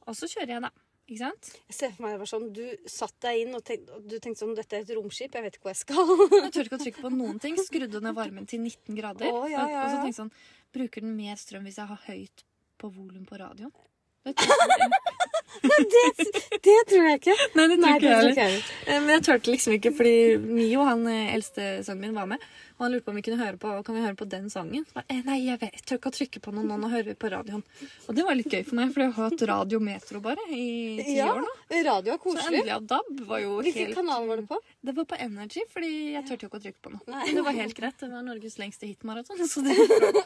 A: Og så kjører jeg, da. Ikke sant?
B: Jeg ser for meg det var sånn, du satt deg inn og, tenkte, og du tenkte sånn, dette er et romskip, jeg vet ikke hvor jeg skal.
A: Jeg tør ikke å trykke på noen ting. Skrudde ned varmen til 19 grader.
B: Å, ja, ja,
A: Og så
B: ja.
A: tenkte jeg sånn Bruker den mer strøm hvis jeg har høyt på volum på radioen? Det tror jeg ikke.
B: Det tror jeg ikke.
A: Nei, det
B: Nei, det
A: tror ikke jeg
B: tror
A: heller.
B: ikke jeg heller.
A: Eh, Men jeg turte liksom ikke, fordi Mio, han eh, eldste sønnen min, var med. Og han lurte på om vi kunne høre på Kan vi høre på den sangen. Så bare, eh, nei, jeg vet, jeg tør ikke å trykke på noe nå. Nå hører vi på radioen. Og det var litt gøy for meg, for jeg har hatt radiometro bare i ti
B: Ja,
A: år nå.
B: radio er
A: Så
B: koselig.
A: endelig av DAB var jo
B: Hvilken
A: helt
B: kanal var det på?
A: Det var på Energy, fordi jeg turte jo ikke å trykke på noe.
B: Nei.
A: Men det var helt greit. Det var Norges lengste hitmaraton, så det gikk bra.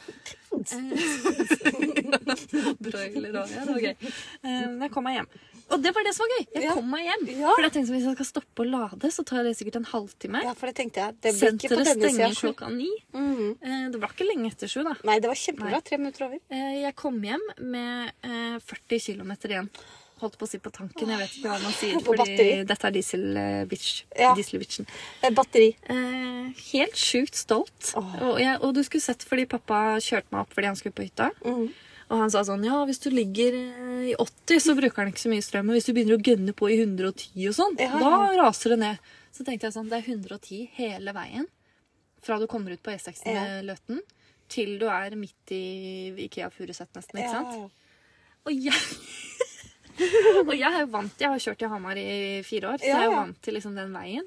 A: Eh, Broiler og ja, det var gøy. Eh, Men jeg kom meg hjem. Og det var det som var gøy! Jeg
B: Mm. Ja.
A: kom meg hjem.
B: Ja.
A: For jeg tenkte hvis jeg skal stoppe å lade, så tar det sikkert en halvtime.
B: Ja, for det tenkte jeg. Det blir ikke på
A: Senteret
B: denne
A: stenger
B: siden.
A: klokka ni.
B: Mhm.
A: Eh, Det var ikke lenge etter sju, da.
B: Nei, det var kjempebra. Tre minutter over.
A: Eh, Jeg kom hjem med eh, 40 km igjen. Holdt på å si på tanken, jeg vet ikke hva man sier.
B: Og
A: Fordi
B: batteri.
A: dette er eh, diesel-bitch.
B: Ja.
A: Diesel-bitchen.
B: Eh, Batteri.
A: Eh, helt sjukt stolt.
B: Åh.
A: Og, jeg, og du skulle sett fordi pappa kjørte meg opp fordi han skulle på hytta.
B: Mhm.
A: Og han sa sånn Ja, hvis du ligger eh, i 80, så bruker han ikke så mye strøm. Men hvis du begynner å gønne på i 110 og sånn,
B: Ja,
A: da
B: ja.
A: raser det ned. Så tenkte jeg sånn Det er 110 hele veien. Fra du kommer ut på E6 med Løten til du er midt i Ikea Furuset, nesten. ikke sant?
B: Ja,
A: Og jeg Og jeg er jo vant Jeg har kjørt i Hamar i fire år, så
B: Ja,
A: jeg er jo
B: ja.
A: vant til liksom den veien.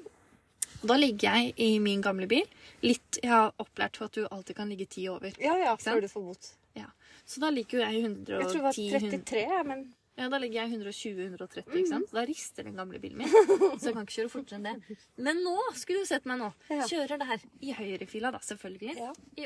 A: Og da ligger jeg i min gamle bil. Litt, Jeg har opplært at du alltid kan ligge ti over.
B: ja, ja
A: sant?
B: før du får bot.
A: Ja. Så da ligger jo jeg i
B: Jeg tror det
A: 110
B: var
A: 100
B: 33, jeg, men
A: ja, da ligger jeg 120-130, ikke
B: Mhm.
A: sant? Da rister den gamle bilen min. Så jeg kan ikke kjøre fortere enn det. Men nå, skulle du sett meg nå,
B: Ja.
A: kjører det her i høyrefila da, selvfølgelig.
B: Ja.
A: I 80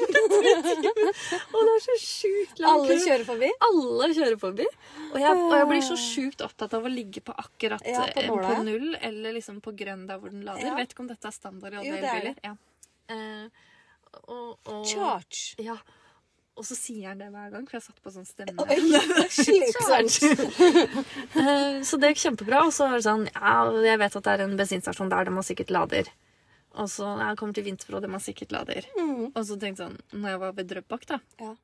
A: i timen. Og det er så sjukt lang
B: alle
A: kø.
B: kjører forbi.
A: Alle kjører forbi. Og jeg, og jeg blir så sjukt opptatt av å ligge på akkurat
B: Ja, på
A: eh,
B: nåla,
A: på
B: ja.
A: null, eller liksom på grønn der hvor den lader.
B: Ja.
A: Vet ikke om dette er standard i
B: Jo,
A: alle
B: det er
A: elbiler. Ja. Eh, og, og,
B: Charge.
A: ja. og så sier han det hver gang, for jeg satt på sånn stemme.
B: Oi, Slitsomt.
A: Eh, Så det gikk kjempebra. Og så er det sånn Ja, jeg vet at det er en bensinstasjon der, den har sikkert lader. Og så ja, jeg kommer til Vinterbro, den har sikkert lader.
B: Mhm.
A: Og så tenkte jeg sånn Når jeg var ved Drøbak, da,
B: Ja.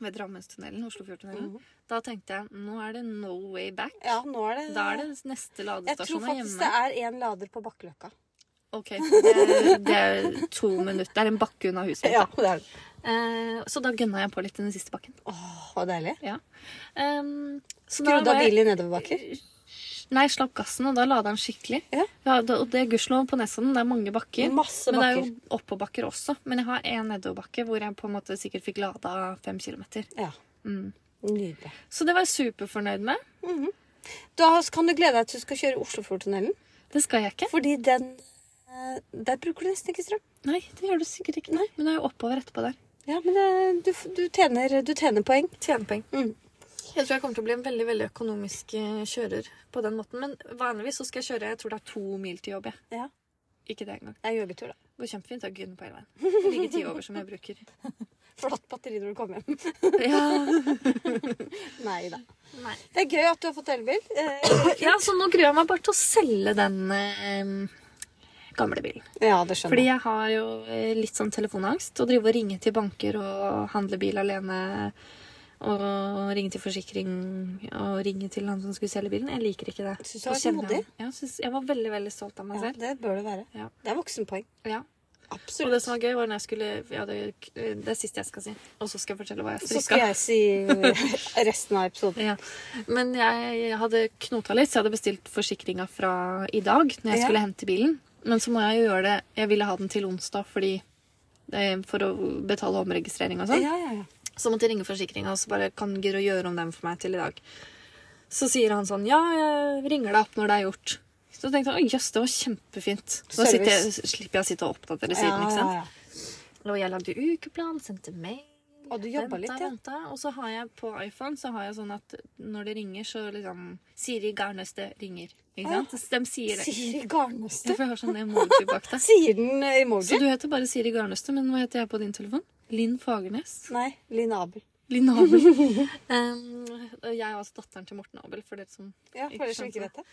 A: ved Drammenstunnelen, Oslofjordtunnelen.
B: Mhm.
A: Da tenkte jeg nå er det no way back.
B: Ja, nå er det
A: Da er det neste
B: Jeg tror
A: ladestasjon er
B: faktisk
A: hjemme.
B: det er en lader på Bakkeløkka.
A: Ok, det er, det er to minutter. Det er en bakke unna huset. mitt, da.
B: det er det.
A: Eh, så da gønna jeg på litt i den siste bakken.
B: Åh, så deilig.
A: Ja. Ehm, så da
B: Skrudde
A: var
B: av
A: jeg-
B: bilen i nedoverbakker.
A: Nei, slapp gassen, og da lader den skikkelig.
B: Ja.
A: da, og det er gudskjelov på Nesodden. Det er mange bakker.
B: Masse
A: Men det er
B: bakker.
A: jo oppåbakker også. Men jeg har en nedoverbakke hvor jeg på en måte sikkert fikk lada fem kilometer.
B: Ja.
A: Mm.
B: Nydelig.
A: Så det var jeg superfornøyd med.
B: Da kan du glede deg til du skal kjøre Oslofjordtunnelen,
A: Det skal jeg ikke.
B: fordi den eh, Der bruker du nesten ikke strøm.
A: Nei, det gjør du sikkert ikke. Nei. Men det er jo oppover etterpå der.
B: Ja, men det, du, du, tjener, du tjener poeng.
A: Tjenepenger.
B: Mm.
A: Jeg tror jeg kommer til å bli en veldig veldig økonomisk eh, kjører på den måten. Men vanligvis så skal jeg kjøre jeg tror det er to mil til jobb. jeg.
B: Ja.
A: Ikke det engang.
B: Det er joggetur, da.
A: Det går kjempefint. Jeg gunner på hele veien. Det ligger ti over som jeg bruker.
B: Flatt batteri når du kommer hjem.
A: Ja.
B: Nei da.
A: Nei.
B: Det er gøy at du har fått elbil. Eh,
A: ja, så nå gruer jeg meg bare til å selge den eh, gamle bilen.
B: ja, det skjønner
A: Fordi
B: jeg.
A: jeg har jo eh, litt sånn telefonangst. Å drive og ringe til banker og handle bil alene. Og ringe til forsikring og ringe til han som skulle selge bilen. Jeg liker ikke det.
B: Synes du
A: Og
B: var så
A: kjenner
B: modig?
A: han- Ja, jeg synes, jeg var veldig veldig stolt av meg
B: Ja,
A: selv.
B: det bør det være.
A: Ja.
B: Det er voksenpoeng.
A: Ja. Og
B: Absolutt.
A: det som var gøy, var når jeg skulle ja, det, det er siste jeg skal si. Og så skal jeg fortelle hva jeg
B: Så
A: strikka.
B: skal jeg si resten av episoden.
A: Ja. Men jeg hadde knota litt, så jeg hadde bestilt forsikringa fra i dag når jeg
B: Ja.
A: skulle hente bilen. Men så må jeg jo gjøre det Jeg ville ha den til onsdag fordi eh, for å betale omregistrering og sånn.
B: Ja, ja, ja.
A: Så måtte jeg ringe forsikringa og så bare kan Guro gjøre om den for meg til i dag. Så sier han sånn Ja, jeg ringer deg opp når det er gjort. Så tenkte jeg å jøss, det var kjempefint. Så
B: Service.
A: sitter jeg, slipper jeg å sitte og oppdatere
B: ja,
A: siden. ikke sant?
B: ja, ja.
A: Og jeg lagde ukeplan, sendte mail.
B: Og du jobba
A: ventet,
B: litt, ja.
A: ventet. Og så har jeg på iPhone så har jeg sånn at når det ringer, så liksom Siri Garnøste ringer. Ikke sant? De sier det.
B: Siri Garnøste.
A: Derfor jeg har sånn emoji bak deg.
B: Sier den eh,
A: Så
B: emoji?
A: du heter bare Siri Garnøste, men hva heter jeg på din telefon? Linn Fagernes.
B: Nei, Linn Abel.
A: Linn Abel. um, og jeg er altså datteren til Morten Abel, for dere som
B: Ja, for dere som ikke vet det.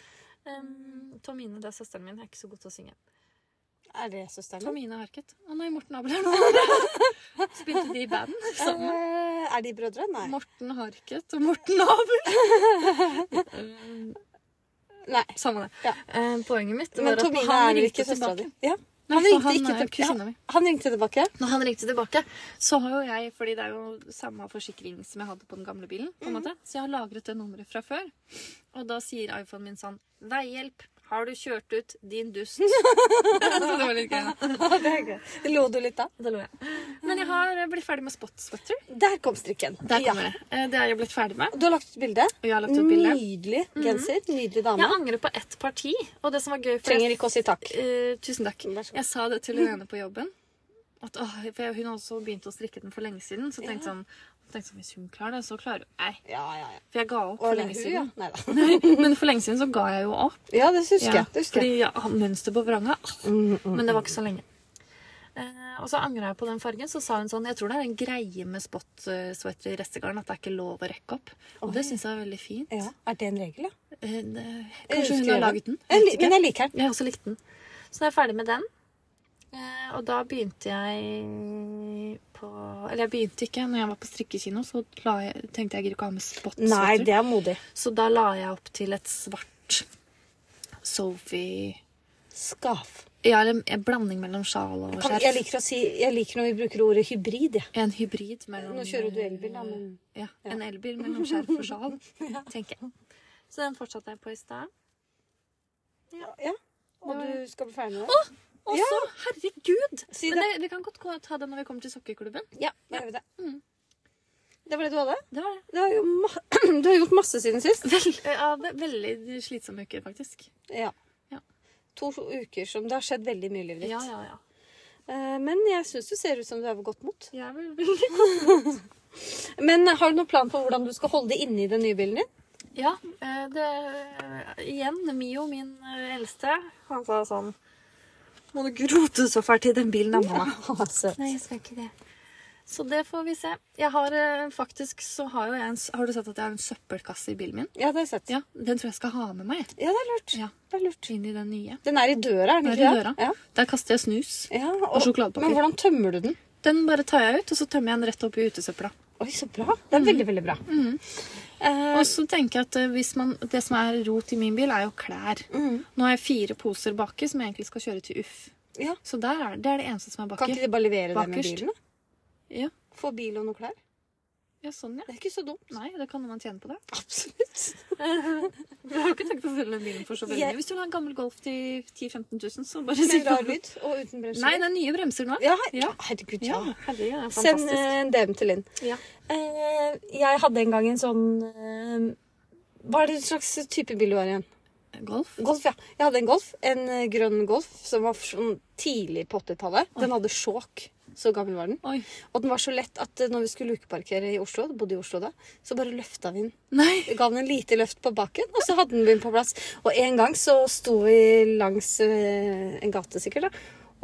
A: um, Tomine, det er søsteren min, er ikke så god til å synge.
B: Er det søsteren din?
A: Tomine Harket. Å nei, Morten Abel er den andre. Spilte de i band sammen?
B: Eh, er de brødre? Nei.
A: Morten Harket og Morten Abel.
B: Nei.
A: Samme det.
B: Ja.
A: Eh, poenget mitt var
B: Men
A: at
B: Tomine
A: han
B: er vel
A: ringte
B: ikke søstera di?
A: tilbake.
B: Ja.
A: Nei,
B: Han
A: for
B: ringte ikke
A: er
B: tilbake.
A: kusina mi.
B: Han ringte tilbake?
A: Når han ringte tilbake, så har jo jeg Fordi det er jo samme forsikring som jeg hadde på den gamle bilen. på en måte Så jeg har lagret det nummeret fra før. Og da sier iPhonen min sånn Veihjelp! Har du kjørt ut din dust? så det var litt gøy. da.
B: Det er gøy. Lo du litt da?
A: Da lo jeg. Men jeg har blitt ferdig med spots, vet du.
B: Der kom strikken.
A: Der
B: Ja.
A: kommer det. Eh, Det har jeg blitt ferdig med.
B: Du har lagt ut bilde.
A: Og jeg har lagt ut bilde.
B: Nydelig genser. Nydelig dame.
A: Jeg angrer på ett parti, og det som var gøy for
B: Trenger ikke å si takk.
A: Eh, tusen takk.
B: Vær så god.
A: Jeg sa det til Irene på jobben. At, åh, for jeg- hun har også begynt å strikke den for lenge siden. Så tenkte jeg sånn, tenkte sånn Hvis hun klarer det, så klarer hun Nei.
B: Ja, ja, ja.
A: For jeg ga
B: Og
A: opp for
B: det er
A: lenge
B: hun, ja.
A: siden.
B: Nei da.
A: Men for lenge siden så ga jeg jo opp.
B: Ja, det husker
A: Ja,
B: jeg. Det husker jeg.
A: Fordi jeg har mønster på vranga. ah,
B: Mm, mm.
A: Men det var ikke så lenge. Eh, og så angra jeg på den fargen. Så sa hun sånn Jeg tror det er en greie med spot-sweater i restegarn at det er ikke lov å rekke opp. Og det syns jeg er veldig fint.
B: Ja. Er det en regel, ja?
A: Eh, det,
B: Jeg
A: kanskje hun
B: husker jeg
A: har laget den?
B: Jeg
A: Vet
B: li-
A: ikke.
B: Men jeg liker den.
A: Jeg har også likt den. Så da er jeg ferdig med den. Eh, Og da begynte jeg på Eller jeg begynte ikke. Når jeg var på strikkekino, så la jeg, tenkte jeg jeg gidder ikke å ha med
B: Nei,
A: spotsvetter.
B: det er modig.
A: Så da la jeg opp til et svart Sophie
B: Skaf.
A: Ja, eller en blanding mellom sjal og
B: Kan, jeg
A: skjerf.
B: liker å si Jeg liker når vi bruker ordet hybrid, jeg.
A: En hybrid mellom
B: Nå kjører du elbil, da, men
A: Ja, en elbil mellom skjerf og sjal, tenker jeg. Så den fortsatte jeg på i stad.
B: Ja. Og du skal bli ferdig med det?
A: Og så, herregud!
B: Si
A: Men det, vi kan godt gå- ta det når vi kommer til sokkeklubben.
B: Ja, da gjør vi det.
A: Mm.
B: Det var det du hadde?
A: Det var det.
B: Det har jo ma du har gjort masse siden sist.
A: Vel, Eh, ja, ve- veldig slitsom uke, faktisk.
B: Ja.
A: Ja.
B: To uker som Det har skjedd veldig mye i livet ditt.
A: Ja, ja, ja.
B: Eh, Men jeg syns du ser ut som du er ved godt mot.
A: Jeg er vel veldig
B: Men har du noen plan for hvordan du skal holde det inne i den nye bilen din?
A: Ja, eh, det eh, Igjen, Mio, min eh, eldste, han sa sånn Må du grote så fælt i den bilen der, mamma.
B: Altså,
A: Nei, jeg skal ikke det. Så det får vi se. Jeg har eh, faktisk så har jo jeg en s- Har du sett at jeg har en søppelkasse i bilen min?
B: ja, det har jeg sett.
A: Ja, Den tror jeg skal ha med meg
B: Ja, det er lurt.
A: Ja.
B: Det er lurt.
A: inn i den nye.
B: Den er i døra, er den
A: Den er
B: ikke
A: i
B: det?
A: døra. Der kaster jeg snus.
B: Ja. ja
A: Og sjokoladepakker.
B: Men hvordan tømmer du den?
A: Den bare tar jeg ut, og så tømmer jeg den rett opp i utesøpla.
B: Oi, så bra. Det er veldig, veldig bra. Eh,
A: Mm. Og så tenker jeg at eh, hvis man, Det som er rot i min bil, er jo klær.
B: mm.
A: Nå har jeg fire poser baki som jeg egentlig skal kjøre til UF.
B: Ja.
A: Så der er, det er det eneste som er
B: Kan
A: baki.
B: ikke de bare levere det med
A: Bakerst.
B: bilen? da?
A: Ja.
B: Få bil og noen klær.
A: ja, sånn, ja.
B: Det er ikke så dumt.
A: Nei, det kan man tjene på det.
B: Absolutt.
A: Du har jo ikke tenkt på å følge bilen for så veldig
B: Jeg-
A: mye. Hvis du vil ha en gammel Golf til 10 000-15 000, så bare si
B: Med rar
A: det.
B: lyd og uten bremser.
A: Nei, det er nye bremser nå.
B: Ja, her-
A: Ja.
B: herregud, ja.
A: Ja, herregud, det er
B: Send
A: fantastisk.
B: eh, en DM til Linn.
A: Ja.
B: Eh, jeg hadde en gang en sånn eh, Hva er det slags type bil du har igjen?
A: eh, Golf?
B: Golf, ja. Jeg hadde en Golf. En eh, grønn Golf som var sånn tidlig på 80-tallet. Den hadde sjåk. Så gammel var den.
A: Oi.
B: Og den var så lett at eh, når vi skulle lukeparkere i Oslo, bodde i Oslo da, så bare løfta vi den.
A: Nei.
B: Vi Ga den en lite løft på baken, og så hadde den begynt på plass. Og en gang så sto vi langs eh, en gate, sikkert, da,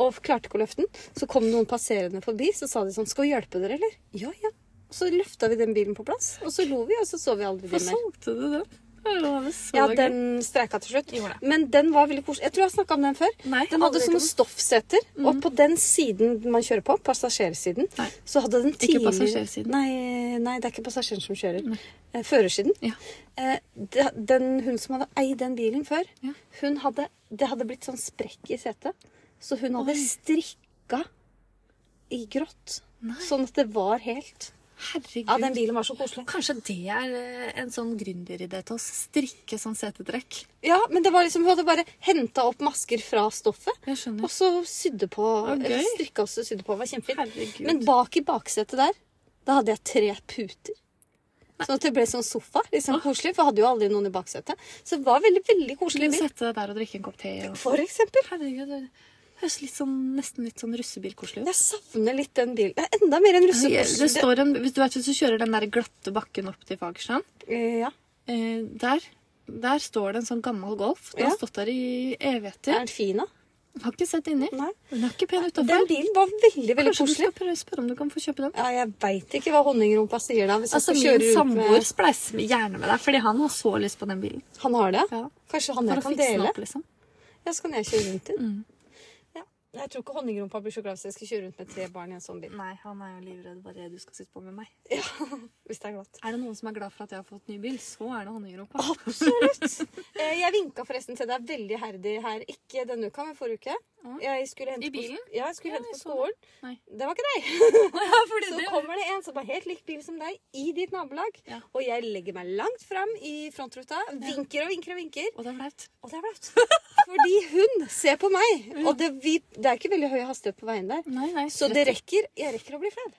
B: og klarte ikke å løfte den. Så kom noen passerende forbi, så sa de sånn 'Skal vi hjelpe dere, eller?' Ja, ja. Så løfta vi den bilen på plass, og så lo vi, og så så vi aldri
A: Hvor
B: den mer.
A: solgte du den? Det var sånn så
B: Ja,
A: gøy.
B: den streika til slutt.
A: Gjorde det.
B: Men den var veldig koselig. Jeg tror jeg har snakka om den før.
A: Nei,
B: Den hadde
A: aldri
B: sånne
A: hørt
B: stoffseter, og på den siden man kjører på, passasjersiden,
A: Nei.
B: så hadde den
A: Ikke
B: tidlig-
A: passasjersiden.
B: Nei, nei, det er ikke passasjeren som kjører.
A: Nei.
B: Eh, Førersiden.
A: Ja.
B: Eh, det- Den, hun som hadde eid den bilen før,
A: Ja.
B: hun hadde, det hadde blitt sånn sprekk i setet, så hun hadde
A: Oi.
B: strikka i grått.
A: Nei.
B: Sånn at det var helt
A: Herregud.
B: Ja, den bilen var så koselig.
A: Kanskje det er eh, en sånn gründeridé til oss. Strikke sånn setetrekk.
B: Ja, men det var liksom, hun hadde bare henta opp masker fra stoffet,
A: Jeg skjønner.
B: og så sydde på.
A: Å, gøy.
B: eller Strikka og så sydde på. Det var kjempefint.
A: Herregud.
B: Men bak i baksetet der, da hadde jeg tre puter. Sånn at det ble sånn sofa. liksom koselig, For jeg hadde jo aldri noen i baksetet. Så det var veldig veldig koselig.
A: Skulle
B: bil.
A: sette deg der og drikke en kopp te. Og...
B: For eksempel.
A: Herregud, det høres litt sånn, nesten litt sånn russebilkoselig ut.
B: Jeg savner litt den bilen. Det er enda mer enn
A: Det
B: russebussen.
A: står en, hvis du, vet, hvis du kjører den der glatte bakken opp til Fagerstrand,
B: Eh, Ja.
A: eh, der, der står det en sånn gammel Golf. Den har
B: Ja.
A: stått der i
B: Er
A: evigheter.
B: den fin, da?
A: Har ikke sett inni.
B: Nei.
A: Den er ikke pen
B: Den
A: utafor.
B: bilen var veldig veldig
A: Kanskje du
B: koselig.
A: skal prøve å spørre om du kan få kjøpe den?
B: Ja, Jeg veit ikke hva honningrumpa sier da. Hvis jeg
A: Altså,
B: skal
A: Min
B: kjøre ut
A: samboer
B: med
A: spleiser gjerne med deg, fordi han har så lyst på den bilen.
B: Han har det?
A: Ja.
B: Kanskje han
A: For
B: jeg
A: å
B: kan
A: fikse den
B: dele?
A: opp, Mm. liksom.
B: Ja, så kan jeg kjøre rundt i den. Ja. Jeg tror ikke honningrumpa blir så glad hvis jeg skal kjøre rundt med tre barn i en sånn bil.
A: Nei, han er jo livredd bare du skal sitte på med meg.
B: Hvis det er glatt.
A: Er det noen som er glad for at jeg har fått ny bil, så er det honningropa.
B: Absolutt. Eh, Jeg vinka forresten til deg veldig herdig her. Ikke denne uka, men forrige uke.
A: Ja.
B: Jeg skulle hente
A: I bilen?
B: På, ja, jeg skulle
A: Ja,
B: hente
A: jeg
B: på
A: så
B: skolen.
A: Nei.
B: Det var ikke deg.
A: Ja, fordi
B: Så kommer det en som har helt lik bil som deg, i ditt nabolag.
A: Ja.
B: Og jeg legger meg langt fram i frontruta, vinker og vinker og vinker.
A: Og det er flaut.
B: Og det er flaut. Fordi hun ser på meg.
A: Mm.
B: Og det, vi, det er ikke veldig høy hastighet på veien der.
A: Nei, nei.
B: Så det rekker. Jeg rekker å bli flau.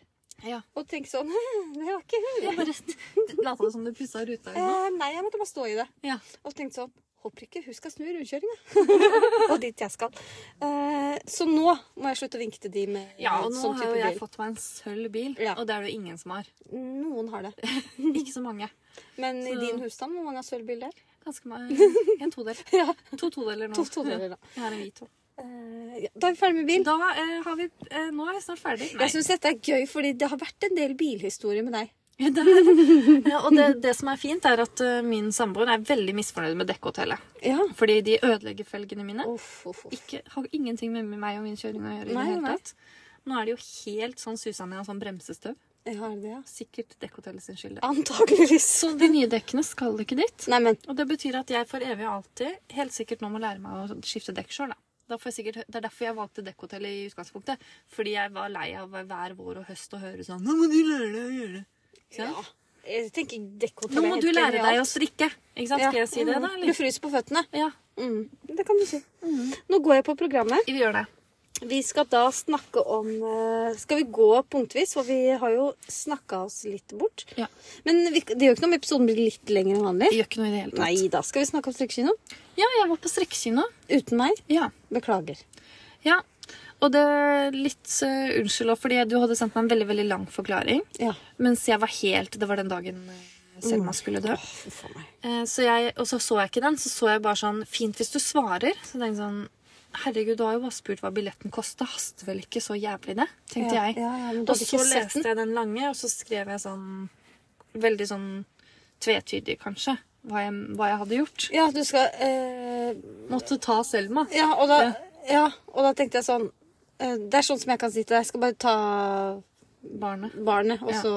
A: Ja.
B: Og tenke sånn Det var ikke hun.
A: Jeg bare lata som du pussa ruta. eller noe.
B: Eh, nei, jeg måtte bare stå i det.
A: Ja.
B: Og tenkte sånn Håper ikke hun skal snu i rundkjøringa. og dit jeg skal. Eh, så nå må jeg slutte å vinke til de med
A: ja, og nå
B: sånn
A: har
B: type
A: jo jeg
B: bil.
A: fått meg en sølv bil,
B: Ja.
A: og det er det jo ingen som har.
B: Noen har det.
A: Ikke så mange.
B: Men i
A: Så-
B: din husstand, hvor mange har sølvbil der?
A: Ganske mange. En todel.
B: Ja.
A: To todeler nå.
B: To todeler, da.
A: Jeg har en hvit to.
B: Eh, ja, da er vi ferdig med bil.
A: Da eh, har vi eh, Nå er vi snart ferdig. Nei.
B: Jeg syns dette er gøy, fordi det har vært en del bilhistorie med deg.
A: Ja, det er- Ja, og det, det som er fint, er at eh, min samboer er veldig misfornøyd med dekkhotellet.
B: Ja.
A: Fordi de ødelegger felgene mine.
B: Uff, uff, uff.
A: Ikke, har ingenting med meg og min kjøring å gjøre. i
B: Nei,
A: det hele
B: nei.
A: tatt. Nå er det jo helt sånn susa ned av sånn bremsestøv.
B: Jeg har det, ja.
A: Sikkert dekkhotellet sin skyld. det.
B: Antakeligvis.
A: Så de nye dekkene skal ikke dit.
B: Nei, men
A: Og det betyr at jeg for evig og alltid helt sikkert nå må lære meg å skifte dekk sjøl. da. Da får jeg sikkert, det er derfor jeg valgte dekkhotell i utgangspunktet. Fordi jeg var lei av hver vår og høst å høre sånn Nå må du lære deg å gjøre det. Ikke sant?
B: ja. Jeg tenker dekkhotell
A: Nå må du lære deg å strikke. Ikke sant? Skal jeg si det, da?
B: Du
A: Eller?
B: fryser Mm. på føttene.
A: Ja,
B: Mm. Det kan du si. Nå går jeg på programmet.
A: vi gjør det.
B: Vi skal da snakke om eh, Skal vi gå punktvis? For vi har jo snakka oss litt bort.
A: Ja.
B: Men vi, det gjør ikke noe om episoden blir litt lenger enn vanlig.
A: Det gjør ikke noe i det hele tatt.
B: Nei da. Skal vi snakke om strikkekino?
A: Ja, jeg var på strikkekino.
B: Uten meg.
A: Ja.
B: Beklager.
A: ja. Og det er litt eh, Unnskyld òg, fordi du hadde sendt meg en veldig veldig lang forklaring.
B: Ja.
A: Mens jeg var helt Det var den dagen eh, Selma
B: Mm.
A: skulle dø.
B: Fy faen meg.
A: Eh, Så jeg, og så så jeg ikke den. Så så jeg bare sånn Fint hvis du svarer. Så tenkte jeg sånn Herregud, du har jo bare spurt hva billetten kosta. Haster vel ikke så jævlig det? Tenkte
B: Ja,
A: jeg.
B: ja, ja, men du
A: og
B: hadde
A: så
B: ikke sett
A: leste jeg den lange, og så skrev jeg sånn Veldig sånn tvetydig, kanskje, hva jeg, hva jeg hadde gjort.
B: Ja, du skal eh,
A: Måtte ta Selma.
B: ja, og da, ja, og da tenkte jeg sånn eh, Det er sånn som jeg kan si til deg. Jeg skal bare ta
A: Barnet.
B: barnet, og så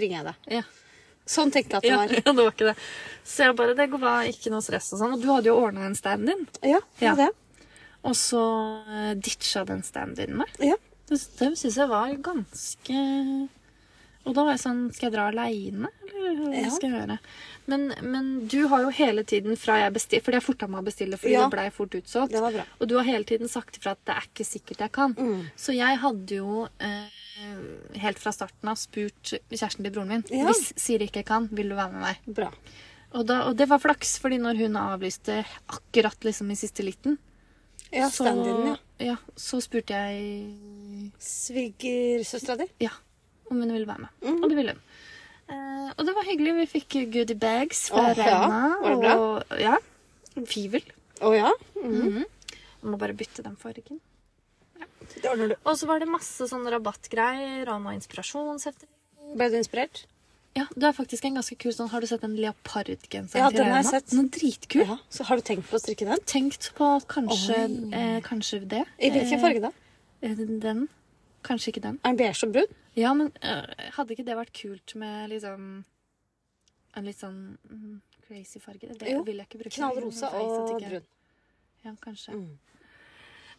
B: ringer jeg deg.
A: Ja.
B: Sånn tenkte jeg
A: Ja,
B: at det var.
A: ja, det var ikke det. Så jeg bare Det går bra, ikke noe stress og sånn. Og du hadde jo ordna en stand-in,
B: Ja,
A: Ja.
B: det.
A: og så eh, ditcha den stand-in meg.
B: Ja.
A: Det, det syns jeg var ganske Og da var jeg sånn Skal jeg dra aleine, eller hva
B: Ja.
A: skal jeg gjøre? Men, men du har jo hele tiden fra jeg bestilte Fordi jeg forta meg å bestille, fordi
B: Ja.
A: det blei fort utsolgt.
B: Det var bra.
A: Og du har hele tiden sagt ifra at det er ikke sikkert jeg kan.
B: Mm.
A: Så jeg hadde jo eh, helt fra starten av spurt kjæresten til broren min
B: Ja.
A: hvis Siri ikke kan, vil du være med meg.
B: Bra.
A: Og, da, og det var flaks, fordi når hun avlyste akkurat liksom i siste liten,
B: Ja,
A: så,
B: stand-in, ja.
A: ja, så spurte jeg
B: Svigersøstera di?
A: ja, om hun ville være med.
B: Mm.
A: Og det ville hun. Eh, og det var hyggelig. Vi fikk goodie bags fra
B: Åh, ja.
A: Rauna.
B: Var det bra?
A: Og ja, fivel.
B: Å ja?
A: Jeg må bare bytte den fargen.
B: Det sånn ordner du.
A: Og så var det masse sånne rabattgreier og noe inspirasjonshefter.
B: Ble du inspirert?
A: Ja, det er faktisk en ganske kul sånn. Har du sett den leopardgenseren
B: Ja,
A: til
B: den har jeg
A: Rauna?
B: sett.
A: Den er dritkul.
B: Ja. Så har du tenkt på å strikke den?
A: Tenkt på kanskje,
B: Oi.
A: eh, kanskje det.
B: I hvilken farge da?
A: Eh, den. Kanskje ikke den.
B: Er den beige og brun?
A: Ja, men eh, hadde ikke det vært kult med liksom en litt sånn mm, crazy farge? Det
B: Jo.
A: vil jeg ikke bruke.
B: Knallrosa
A: Nei, så
B: og
A: tenker jeg-
B: brun.
A: Ja, kanskje.
B: Mm.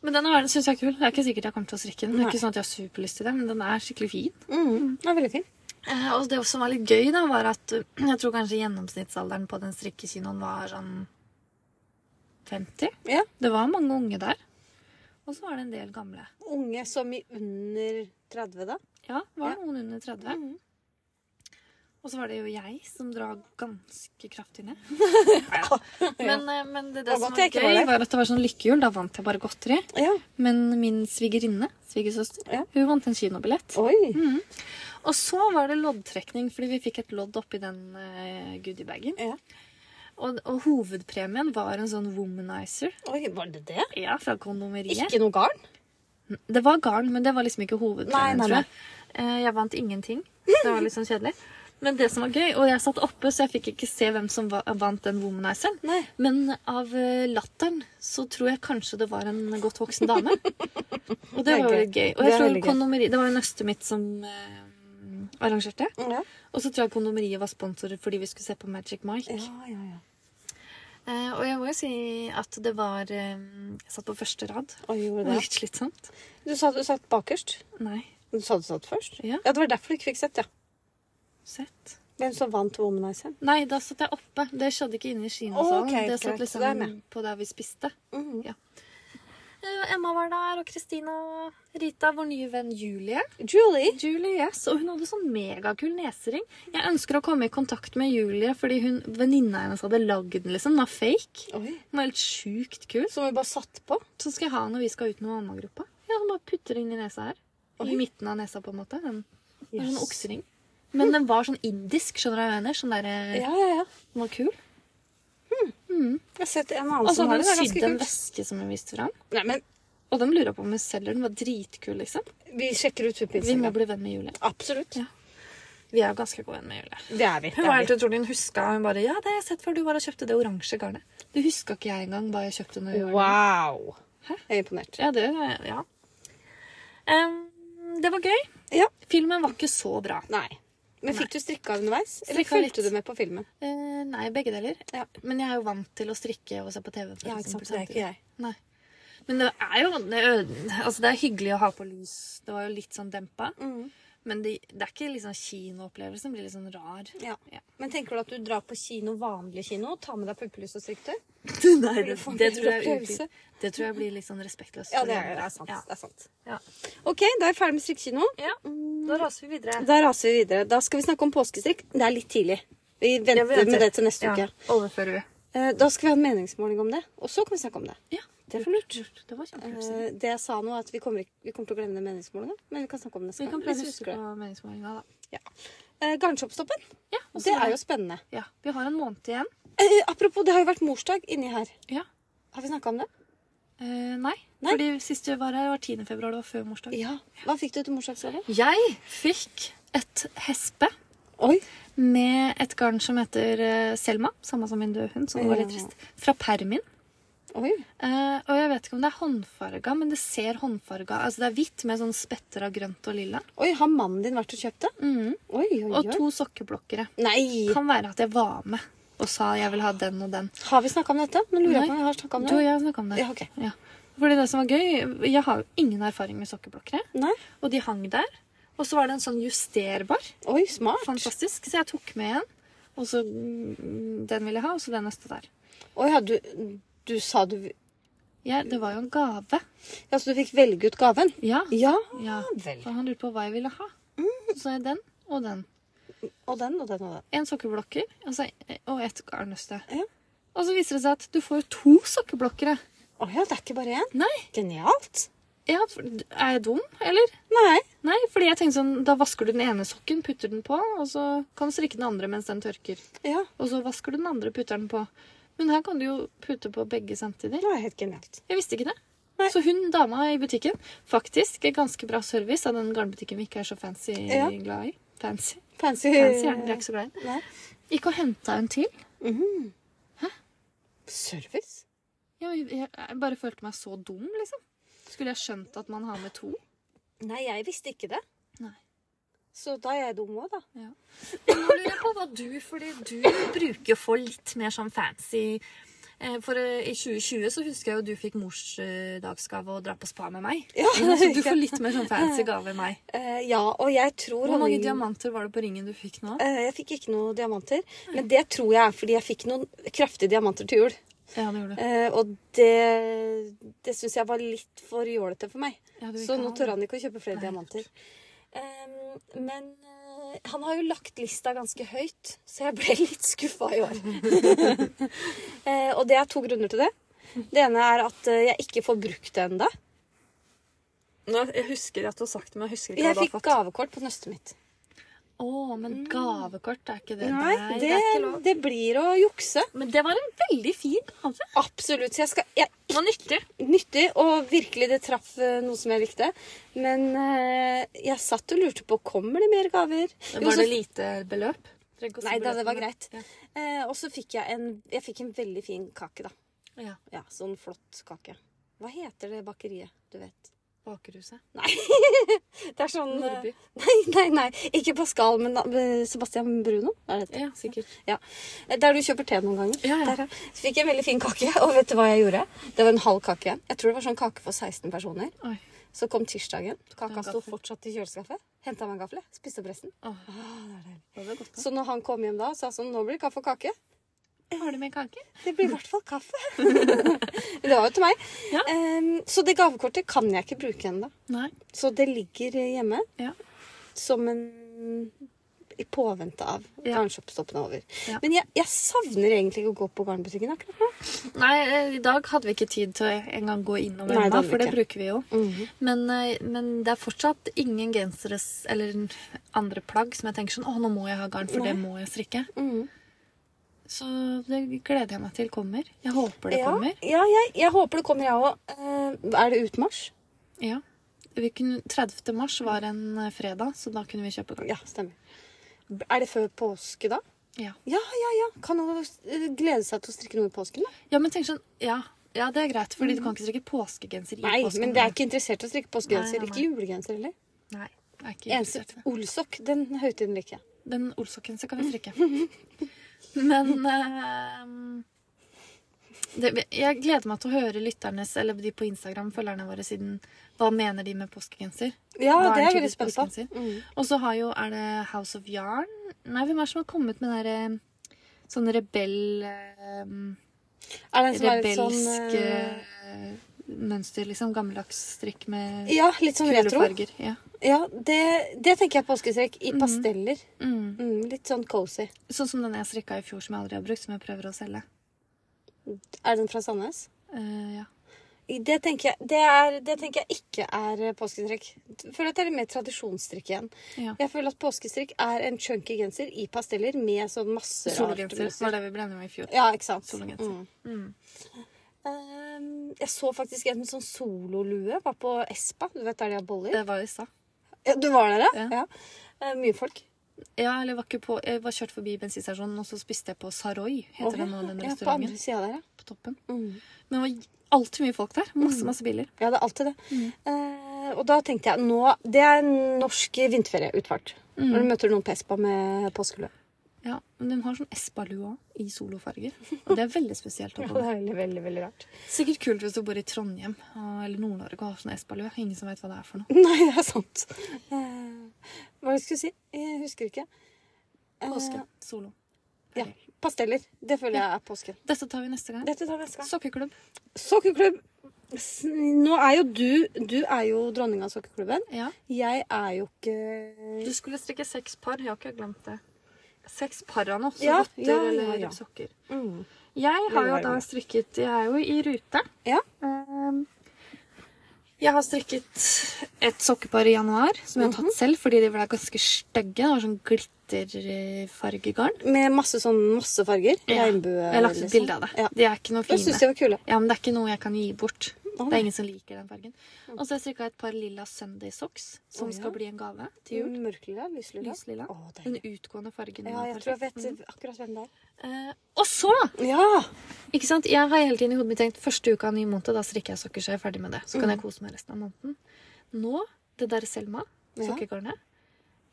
A: Men denne verden syns jeg er kul. Det er ikke sikkert jeg kommer til å strikke den. Det
B: Nei.
A: er ikke sånn at jeg har superlyst til det, men den er skikkelig fin.
B: Mm. Den er veldig fin.
A: Eh, og det som var litt gøy, da, var at eh, jeg tror kanskje gjennomsnittsalderen på den strikkekinoen var sånn 50.
B: Ja.
A: Det var mange unge der. Og så var det en del gamle.
B: Unge som i under 30, da.
A: Ja, Mm. det var
B: Ja.
A: noen under 30.
B: Mhm.
A: Og så var det jo jeg som drar ganske kraftig ned.
B: Ja.
A: Men, eh, men det,
B: var
A: det som
B: godt
A: var
B: jeg ikke var
A: gøy,
B: der.
A: var at det var sånn lykkehjul. Da vant jeg bare godteri.
B: Ja.
A: Men min svigerinne, svigersøster,
B: Ja.
A: hun vant en kinobillett.
B: Oi.
A: Og så var det loddtrekning, fordi vi fikk et lodd oppi den uh, goodiebagen.
B: Ja.
A: Og, og hovedpremien var en sånn womanizer
B: Oi, var det det?
A: ja, fra kondomeriet.
B: Ikke noe garn?
A: Det var garn, men det var liksom ikke
B: Nei,
A: hovedpremien,
B: nei,
A: tror jeg. Eh, Jeg vant ingenting. Det var liksom kjedelig. Men det som var gøy, og jeg satt oppe, så jeg fikk ikke se hvem som va- vant den womanizeren.
B: Nei.
A: Men av eh, latteren så tror jeg kanskje det var en godt voksen dame.
B: Det
A: Og det
B: er
A: var jo
B: gøy.
A: litt gøy. Og
B: Det
A: jeg
B: er
A: tror
B: veldig gøy.
A: kondomeri Det var jo nøstet mitt som eh, arrangerte.
B: Ja,
A: Og så tror jeg kondomeriet var sponsorer fordi vi skulle se på Magic Mike.
B: ja, ja. ja.
A: Eh, og jeg må jo si at det var eh, Jeg satt på første rad.
B: Oi,
A: Det
B: gjorde
A: var
B: det.
A: litt slitsomt.
B: Du sa du satt bakerst.
A: Nei.
B: Du sa du satt først?
A: Ja.
B: ja, det var derfor du ikke fikk sett, ja.
A: Sett.
B: Hvem som vant Womanizeren?
A: Nei, da satt jeg oppe. Det skjedde ikke inne i kinosalen.
B: Ok,
A: det satt
B: greit. Da er jeg
A: liksom
B: med.
A: på der vi spiste.
B: Mm.
A: Eh, Emma var der, og Kristina og Rita, vår nye venn Julie.
B: Julie.
A: Julie, yes, og hun hadde sånn megakul nesering. Jeg ønsker å komme i kontakt med Julie fordi hun, venninna hennes hadde lagd den, liksom. Den var fake.
B: Oi.
A: Den var helt sjukt kul.
B: Som vi bare satt på.
A: Så skal jeg ha når vi skal ut med mammagruppa. Ja, den bare putter inn i nesa her.
B: Oi.
A: I midten av nesa, på en måte. Den det var
B: Yes.
A: sånn oksering. Men den var sånn indisk, skjønner du hva jeg mener? Sånn der,
B: Ja, ja, ja.
A: Den var kul.
B: Jeg har sett en annen
A: Og så
B: som Altså, har det.
A: hadde hun
B: Det er
A: sydd
B: ganske
A: Altså, en
B: kult.
A: veske som hun viste fram.
B: Nei, men
A: Og de lurer på om hun selger den. Den var dritkul, liksom.
B: vi sjekker ut
A: Vi må
B: puppeinstagram.
A: bli venn med Julie.
B: Absolutt.
A: Ja. Vi er jo ganske gode venn med Julie.
B: Det er vi.
A: Hun
B: det
A: var
B: er
A: helt
B: vi.
A: utrolig. Hun huska Hun bare 'Ja, det har jeg sett før. Du var og kjøpte det oransje garnet.' Det huska ikke jeg engang hva jeg kjøpte når jeg var liten.
B: Wow.
A: Hæ?
B: Jeg er imponert.
A: Ja, det Ja. Em, det var gøy.
B: Ja.
A: Filmen var ikke så bra.
B: Nei. Men fikk du strikka underveis? Eller
A: Strikka
B: fulgte
A: litt.
B: du med på filmen?
A: Eh, nei, begge deler.
B: Ja.
A: Men jeg er jo vant til å strikke og se på TV. for
B: Ja, ikke sant.
A: eksempel,
B: Det er
A: samtidig.
B: ikke jeg.
A: Nei. Men det er jo det er- Altså, det er hyggelig å ha på lys. Det var jo litt sånn dempa.
B: Mm.
A: Men det, det er ikke liksom kinoopplevelsen blir litt sånn rar.
B: Ja.
A: Ja.
B: Men tenker du at du drar på kino, vanlig kino, og tar med deg puppelys og strikketøy?
A: Nei,
B: det-
A: det,
B: det
A: tror jeg er
B: opplevelse.
A: ufint. Det tror jeg blir litt sånn respektløst.
B: Ja,
A: for
B: det
A: de
B: er,
A: andre.
B: det er sant.
A: sånn, Ja.
B: Det er sant.
A: Ja.
B: OK, da er vi ferdig med strikkekinoen.
A: Ja, da raser vi videre.
B: Da raser vi videre. Da skal vi snakke om påskestrikk. Det er litt tidlig. Vi venter, med det til neste uke.
A: Overfører vi.
B: Eh, Da skal vi ha en meningsmåling om det, og så kan vi snakke om det.
A: Ja,
B: Det er for lurt.
A: det var kjempelurt. Siri.
B: Eh, Det jeg sa nå, er at vi kommer, ikke, vi kommer til å glemme den meningsmålinga, men vi kan snakke om det
A: Vi
B: neste
A: kan
B: gang.
A: prøve
B: Hvis
A: å
B: vi husker
A: huske
B: det.
A: på meningsmålinga, da.
B: Ja. Eh, Garnshopstoppen,
A: Ja, og så
B: det
A: er-
B: er jo spennende.
A: ja, Vi har en måned igjen.
B: Eh, apropos, det har jo vært morsdag inni her.
A: Ja.
B: Har vi snakka om det?
A: Eh, nei,
B: Nei.
A: fordi sist vi var her, var 10. februar. Det var før morsdag.
B: Ja. Hva fikk du til morsdagsgave?
A: Jeg fikk et hespe
B: Oi.
A: med et garn som heter eh, Selma. Samme som min døde hund, som var litt
B: Ja.
A: trist. Fra Permin.
B: Oi.
A: Eh, og jeg vet ikke om det er håndfarga, men det ser håndfarga Altså det er hvitt med sånn spetter av grønt og lilla.
B: Oi, har mannen din vært og kjøpt det?
A: Mhm.
B: Oi, oi, Mm. oi.
A: Og to sokkeblokkere.
B: Nei!
A: Kan være at jeg var med og sa jeg vil ha den og den.
B: Har vi snakka om dette? Nå lurer jeg
A: Nei.
B: på om jeg har snakket om
A: Du
B: det.
A: og jeg har snakka om det.
B: Sånn, Ja, ok.
A: Ja. Fordi det som var gøy Jeg har jo ingen erfaring med sokkeblokkere.
B: Nei?
A: Og de hang der. Og så var det en sånn justerbar.
B: Oi, smart.
A: Fantastisk. Så jeg tok med en. Og så mm, Den vil jeg ha, og så den neste der.
B: Oi, ja, du, du sa du
A: Jeg, det var jo en gave.
B: Ja, så du fikk velge ut gaven?
A: Ja.
B: Ja
A: ja.
B: vel. Mm.
A: For han lurte på hva jeg ville ha. Så sa jeg den og den.
B: Og den og den og den.
A: En sokkeblokker altså, og et garnnøste.
B: Ja.
A: Og så viser det seg at du får jo to sokkeblokkere.
B: Å ja, det er ikke bare én?
A: Nei.
B: Genialt.
A: Ja, er jeg dum, eller?
B: Nei.
A: Nei, fordi jeg tenkte sånn, da vasker du den ene sokken, putter den på, og så kan du strikke den andre mens den tørker.
B: Ja,
A: Og så vasker du den andre, putter den på. Men her kan du jo putte på begge samtidig.
B: det var helt genialt.
A: Jeg visste ikke det.
B: Nei.
A: Så hun dama i butikken, faktisk ganske bra service av den garnbutikken vi ikke er så fancy
B: Ja. Eh.
A: glad i. Fancy.
B: Fancy.
A: Fancy er den, vi er ikke så glad i.
B: Nei.
A: Gikk og henta en til.
B: Mhm. Service?
A: Ja, men Jeg, jeg bare følte meg så dum, liksom. Skulle jeg skjønt at man har med to?
B: Nei, jeg visste ikke det.
A: Nei.
B: Så da er jeg dum òg, da.
A: Men Nå lurer jeg på hva du Fordi du bruker å få litt mer sånn fancy eh, For eh, i 2020 så husker jeg jo du fikk morsdagsgave og dra på spa med meg.
B: Ja,
A: Så du får litt mer sånn fancy gave enn meg.
B: Eh, ja, og jeg tror
A: Hvor mange
B: honning-
A: diamanter var det på ringen du fikk nå?
B: Eh, jeg fikk ikke noen diamanter. Men det tror jeg er fordi jeg fikk noen kraftige diamanter til jul.
A: Ja, det gjorde du.
B: Eh, og det, det syns jeg var litt for jålete for meg.
A: Ja, du vil
B: Så
A: ikke
B: nå
A: ha det.
B: tør han ikke å kjøpe flere
A: Nei.
B: diamanter. Em, men eh, han har jo lagt lista ganske høyt, så jeg ble litt skuffa i år. Eh, og det er to grunner til det. Det ene er at eh, jeg ikke får brukt det ennå.
A: Nå, jeg husker at du har sagt det, men jeg husker ikke
B: Jeg
A: hva du
B: fikk
A: har fått.
B: gavekort på nøstet mitt.
A: Å, men gavekort er ikke det.
B: Nei, det,
A: det er ikke lov.
B: det blir å jukse.
A: Men det var en veldig fin gave.
B: Absolutt. Så jeg skal jeg,
A: Den var nyttig.
B: Nyttig, og virkelig det traff eh, noe som jeg likte. Men eh, jeg satt og lurte på kommer det mer gaver. Jo,
A: Var
B: så-
A: det lite beløp? Trenger ikke å si
B: Nei da, det var
A: beløpene.
B: greit. Eh, og så fikk jeg en Jeg fikk en veldig fin kake, da.
A: Ja. ja.
B: Ja, Sånn flott kake. Hva heter det bakeriet? Du vet.
A: Bakerhuset.
B: Det er sånn eh,
A: Nordby.
B: Nei, nei, nei. Ikke Pascal, men eh, Sebastian Bruno. Er det det?
A: Ja, sikkert.
B: Eh, Der du kjøper te noen ganger.
A: Ja, ja.
B: Der, ja. Så fikk jeg en veldig fin kake, og vet du hva jeg gjorde? Det var en halv kake igjen. Jeg tror det var sånn kake for 16 personer.
A: Oi.
B: Så kom tirsdagen.
A: du en
B: Kaka sto
A: gaffel?
B: fortsatt i kjøleskapet. Henta meg en gaffel, jeg. spiste opp resten.
A: Åh, det var godt.
B: Så når han kom hjem da, sa han sånn Nå blir det kaffe og kake.
A: Har du med kake?
B: Det blir i hvert fall kaffe. det var jo til meg.
A: Ja.
B: Em, så det gavekortet kan jeg ikke bruke ennå.
A: Nei.
B: Så det ligger hjemme
A: Ja.
B: som en i påvente av
A: Ja.
B: garnshopstoppen er over.
A: Ja.
B: Men jeg, jeg savner egentlig ikke å gå på garnbutikken akkurat nå.
A: Nei, eh, i dag hadde vi ikke tid til å engang gå innom
B: Nei, det
A: ennå,
B: hadde vi
A: for det
B: ikke.
A: bruker vi jo. Men, eh, men det er fortsatt ingen gensere s- eller andre plagg som jeg tenker sånn Å, nå må jeg ha garn, for det må jeg strikke.
B: Mhm.
A: Så det gleder jeg meg til kommer. Jeg håper det
B: ja,
A: kommer.
B: ja jeg, jeg håper det kommer, jeg òg. er det utmarsj?
A: Ja. Vi kunne, 30. mars var en eh, fredag, så da kunne vi kjøpe garn.
B: Ja, stemmer. Er det før påske, da?
A: Ja.
B: Ja, ja, ja. Kan hun eh, glede seg til å strikke noe i påsken? da?
A: ja, men tenk sånn Ja, ja det er greit, fordi du kan ikke strikke påskegenser i
B: Nei,
A: påsken.
B: men det er ikke interessert i å strikke
A: Nei,
B: påskegenser.
A: nei, nei.
B: Ikke julegenser heller.
A: Nei, jeg er ikke
B: Eneste
A: interessert i det.
B: olsokk, den høytiden liker jeg.
A: Den olsokken så kan vi strikke. Men eh, det, Jeg gleder meg til å høre lytternes, eller de på Instagram, følgerne våre, siden Hva mener de med påskegenser?
B: Ja, det er
A: Hva
B: jeg
A: en
B: veldig
A: typisk
B: spent på.
A: påskegenser?
B: Mm.
A: Og så har jo Er det House of Yarn? Nei, hvem er det som har kommet med den derre Sånn rebell eh,
B: Er det en som er litt sånn
A: Rebelsk
B: eh,
A: eh, mønster, liksom. Gammeldags strikk med
B: Ja, litt sånn
A: kule
B: retro.
A: farger. Ja.
B: Ja, det, det tenker jeg påskestrekk i pasteller.
A: Mm.
B: Mm, litt sånn cozy.
A: Sånn som den jeg strikka i fjor, som jeg aldri har brukt, som jeg prøver å selge.
B: Er den fra Sandnes?
A: Eh, ja.
B: Det tenker jeg, det er, det tenker jeg ikke er eh, påskestrekk. Jeg Føler at det er litt mer tradisjonsstrikk igjen.
A: ja.
B: Jeg føler at påskestrikk er en chunky genser i pasteller med sånn masse rart
A: Sologenser
B: mønster.
A: var det vi ble enige om i fjor.
B: Ja, ikke sant.
A: Sologenser.
B: Mm. Ehm, jeg så faktisk en sånn sololue var på Espa. Du vet der de har boller?
A: Det var i stad.
B: Ja, du var der, ja?
A: Ja.
B: ja. Eh, mye folk.
A: Ja, eller jeg var ikke på Jeg var kjørt forbi bensinstasjonen, og så spiste jeg på Saroy, heter
B: Å,
A: den nå, den
B: ja, på
A: restauranten.
B: andre Mm. sida der, ja.
A: På toppen.
B: Mm.
A: Men det var alltid mye folk der. Masse, masse biler.
B: Ja, det er alltid det. Eh, og da tenkte jeg nå, Det er en norsk vinterferieutfart. Når du møter noen på Espa med påskelue.
A: Ja, men den har sånn Espa-lua i solofarger. Og det er veldig spesielt. å
B: Ja,
A: gå
B: det
A: med.
B: er veldig, veldig, veldig rart.
A: Sikkert kult hvis du bor i Trondheim ah, eller Nord-Norge og har sånn Espa-lue. Ingen som vet hva det er for noe.
B: Nei, det er sant. Eh, hva var det jeg skulle si? Jeg husker ikke. Eh,
A: Påske. Solo.
B: Ja. Pasteller. Det føler jeg er påsken.
A: Dette tar vi neste gang.
B: Dette tar vi neste gang.
A: Sokkeklubb.
B: Sokkerklubb. S- Nå er jo du Du er jo dronninga av sokkerklubben.
A: Ja.
B: Jeg er jo ikke
A: Du skulle strikke seks par. Jeg har ikke glemt det. Seks par av noe. Så
B: Ja,
A: votter
B: ja, ja,
A: eller
B: ja.
A: sokker.
B: mm.
A: Jeg har jo
B: Veldig
A: da
B: varm.
A: strikket Jeg er jo i rute.
B: Ja.
A: Ehm, Jeg har strikket et sokkepar i januar, som jeg har tatt selv fordi de ble ganske stygge. Det var sånn glitterfargegarn.
B: Med masse sånn masse farger. Regnbue.
A: Jeg har lagt ut bilde av sånn. det.
B: Ja.
A: De er ikke noe
B: Jeg syns
A: fine.
B: de var kule.
A: Ja, men det er ikke noe jeg kan gi bort.
B: Å,
A: Det er ingen som liker den fargen. Og så har jeg strikka et par lilla Sunday socks, som
B: Å, ja.
A: skal bli en gave til jul.
B: Mørklilla? Lyslilla?
A: Lyslilla.
B: Å,
A: Den
B: deilig.
A: utgående fargen.
B: Ja,
A: er
B: jeg tror jeg
A: perfekt.
B: vet akkurat hvem det er.
A: Eh, og så
B: Ja!
A: Ikke sant? Jeg har hele tiden i hodet mitt tenkt første uka av ny måned, da strikker jeg sokker så jeg er ferdig med det. Så kan
B: Mm.
A: jeg kose meg resten av måneden. Nå, det der Selma,
B: Ja.
A: sokkegarnet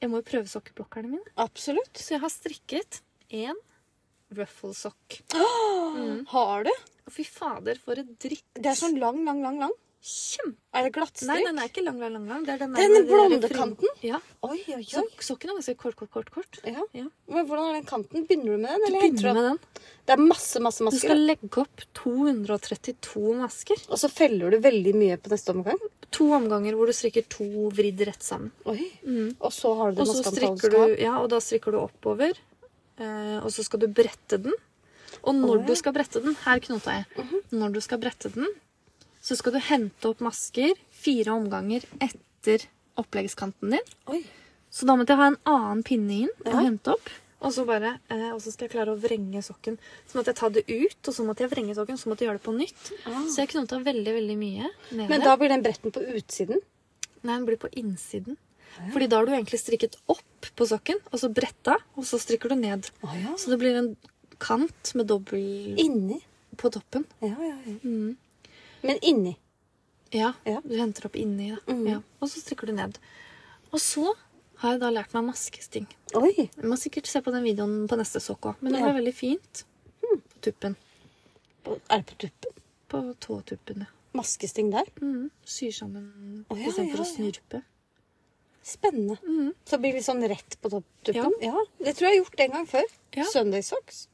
A: Jeg må jo prøve sokkeblokkerne mine.
B: Absolutt.
A: Så jeg har strikket én ruffle-sokk. Mm.
B: Har du?
A: Å, Fy fader, for et dritt.
B: Det er sånn lang, lang, lang, lang.
A: Kjempe...
B: Er det
A: Nei,
B: glattstrikk?
A: den er ikke lang, lang, lang. lang. Det er den,
B: Den
A: med de der
B: blonde
A: frim- Ja.
B: Oi, oi,
A: Så
B: oi.
A: sokken er ganske kort, kort, kort. kort.
B: Ja.
A: Sånn. Ja.
B: Men hvordan er den kanten? Begynner du med den?
A: Du
B: Eller
A: begynner
B: heter
A: med den.
B: det Det er masse, masse
A: Du
B: masker.
A: skal legge opp 232 masker.
B: Og så feller du veldig mye på neste omgang.
A: To omganger hvor du strikker to vridd rett sammen.
B: Oi. Og så har du det
A: Mm. Og så
B: maskeantallet
A: strikker du, ja, og da strikker du oppover, eh, og så skal du brette den. Og når
B: Å, ja.
A: du skal brette den Her knota jeg. Når du skal brette den, så skal du hente opp masker fire omganger etter oppleggskanten din.
B: Oi.
A: Så da måtte jeg ha en annen pinne inn og
B: Ja.
A: hente opp. Og så bare, eh, og så skal jeg klare å vrenge sokken. Så måtte jeg ta det ut, og så måtte jeg vrenge sokken, så måtte jeg gjøre det på nytt.
B: Ah.
A: Så jeg knota veldig, veldig mye. nedover.
B: Men da blir den bretten på utsiden.
A: Nei, den blir på innsiden.
B: Ah,
A: Fordi da har du egentlig strikket opp på sokken, og så bretta, og så strikker du ned.
B: Oh, ja.
A: Så det blir en kant med dobbel
B: Inni.
A: på toppen.
B: Ja, ja, ja.
A: Mm.
B: Men inni.
A: Ja,
B: Ja.
A: du henter opp inni, da.
B: Mm.
A: Ja, og så strikker du ned. Og så har jeg da lært meg maskesting.
B: Oi.
A: Jeg må sikkert se på den videoen på neste sokk òg, men det
B: Ja. Hmm.
A: var veldig fint. På tuppen.
B: Er det på tuppen?
A: På tåtuppene.
B: Maskesting der. Liksom
A: Mm. Syr sammen
B: Å, Hmm. ja, ja,
A: istedenfor å snurpe.
B: Spennende.
A: Mm.
B: Så det blir litt sånn rett på topp- tuppen. Ja. Det tror jeg jeg har gjort en gang før.
A: Ja.
B: Sunday socks.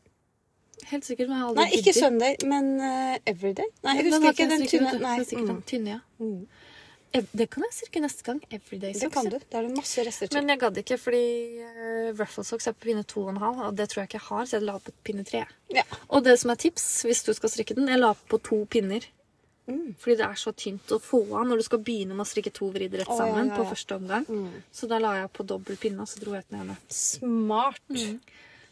A: Helt sikkert. Men jeg har aldri
B: Nei, ikke
A: giddet.
B: Sunday, men eh, Everyday. Nei, jeg
A: Den
B: husker
A: har
B: ikke den
A: strikket,
B: tynne.
A: vet du.
B: Nei.
A: Den strikket den tynne, ja.
B: Mm. Mm.
A: Ev- Det kan jeg strikke neste gang. Everyday
B: Det
A: socks.
B: kan
A: ja.
B: du. Da er det masse rester til.
A: Men jeg gadd ikke, fordi eh, ruffle socks er på pinne 2,5, og det tror jeg ikke jeg har, så jeg la på pinne 3.
B: Ja.
A: Og det som er tips, hvis du skal strikke den, jeg la på to pinner.
B: Mm.
A: Fordi det er så tynt å få av når du skal begynne med å strikke to vridd rett
B: Å, ja,
A: sammen
B: ja,
A: på
B: ja.
A: første omgang.
B: Mm.
A: Så da la jeg på dobbel pinne, og så dro jeg ut den ene.
B: Smart.
A: Mm.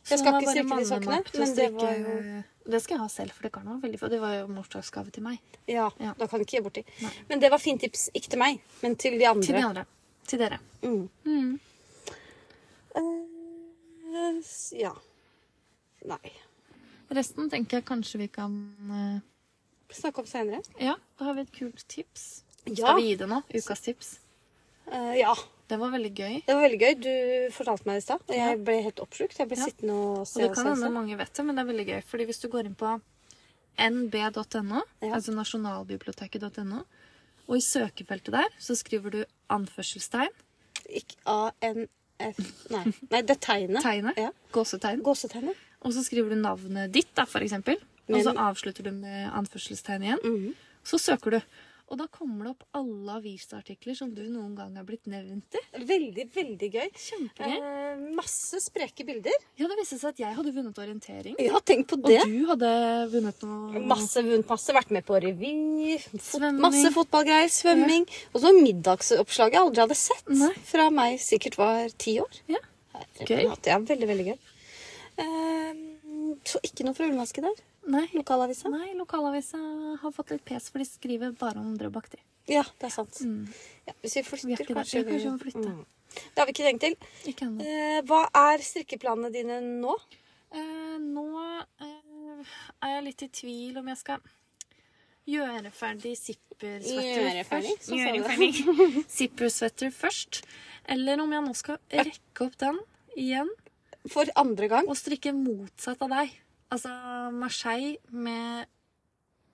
A: Så
B: Jeg skal
A: nå
B: ikke
A: har jeg bare
B: strikke de
A: mannet meg
B: sokkene,
A: opp til å
B: men det var
A: strikke- Det skal jeg ha selv, for det garnet var veldig fint. Det var jo morsdagsgave til meg.
B: Ja,
A: Ja.
B: da kan ikke gi borti.
A: Nei.
B: Men det var fint tips. Ikke til meg, men til de andre.
A: Til de andre. Til dere.
B: Mm.
A: Mm.
B: Eh, s- ja. Nei.
A: Resten tenker jeg kanskje vi kan eh,
B: Snakke om senere.
A: Ja, da har vi et kult tips.
B: Ja.
A: Skal vi gi det nå? Ukas tips.
B: Eh, ja.
A: Det var veldig gøy.
B: Det var veldig gøy. Du fortalte meg det i stad. og
A: Ja.
B: Jeg ble helt oppslukt. Jeg ble
A: Ja.
B: sittende og se
A: Og det kan
B: se.
A: hende mange vet det, men det er veldig gøy. Fordi hvis du går inn på nb.no,
B: Ja.
A: altså nasjonalbiblioteket.no, og i søkefeltet der så skriver du anførselstegn,
B: Ikke ANF Nei. Nei, det er tegnet.
A: tegnet,
B: Ja.
A: gåsetegn,
B: Gåsetegnet.
A: og så skriver du navnet ditt, da, for eksempel. Og
B: Men-
A: så avslutter du med anførselstegn igjen.
B: Mhm.
A: Så søker du. Og da kommer det opp alle avisartikler som du noen gang er blitt nevnt i.
B: Veldig, veldig gøy.
A: Kjempegøy.
B: Eh, masse spreke bilder.
A: Ja, det viste seg at jeg hadde vunnet orientering.
B: Ja, tenk på
A: Og
B: det.
A: du hadde vunnet noe
B: Masse vunnet, masse vært med på revy, fot,
A: Mm. Svømming.
B: masse fotballgreier, svømming. Og så middagsoppslaget jeg aldri hadde sett.
A: Nei.
B: Fra meg sikkert var ti år.
A: Ja.
B: Herregud,
A: Gøy.
B: at Det er veldig, veldig gøy. Ehm, så ikke noe fra Ullmaske der.
A: Nei,
B: Lokalavisa.
A: nei, lokalavisa har fått litt pes, for de skriver bare om Drøbak. de.
B: Ja, det er sant.
A: Mm.
B: Ja, hvis vi flytter,
A: Vi er ikke der.
B: kanskje
A: Ja, kanskje vi må flytte.
B: Mm. Det har vi ikke tenkt til.
A: Ikke ennå.
B: Eh, hva er strikkeplanene dine nå?
A: Eh, nå eh, er jeg litt i tvil om jeg skal gjøre ferdig zippersweater
B: Gjøre ferdig,
A: først.
B: så sa du det.
A: ferdig zippersweater først. Eller om jeg nå skal rekke opp den igjen
B: For andre gang?
A: og strikke motsatt av deg. Altså Marseille med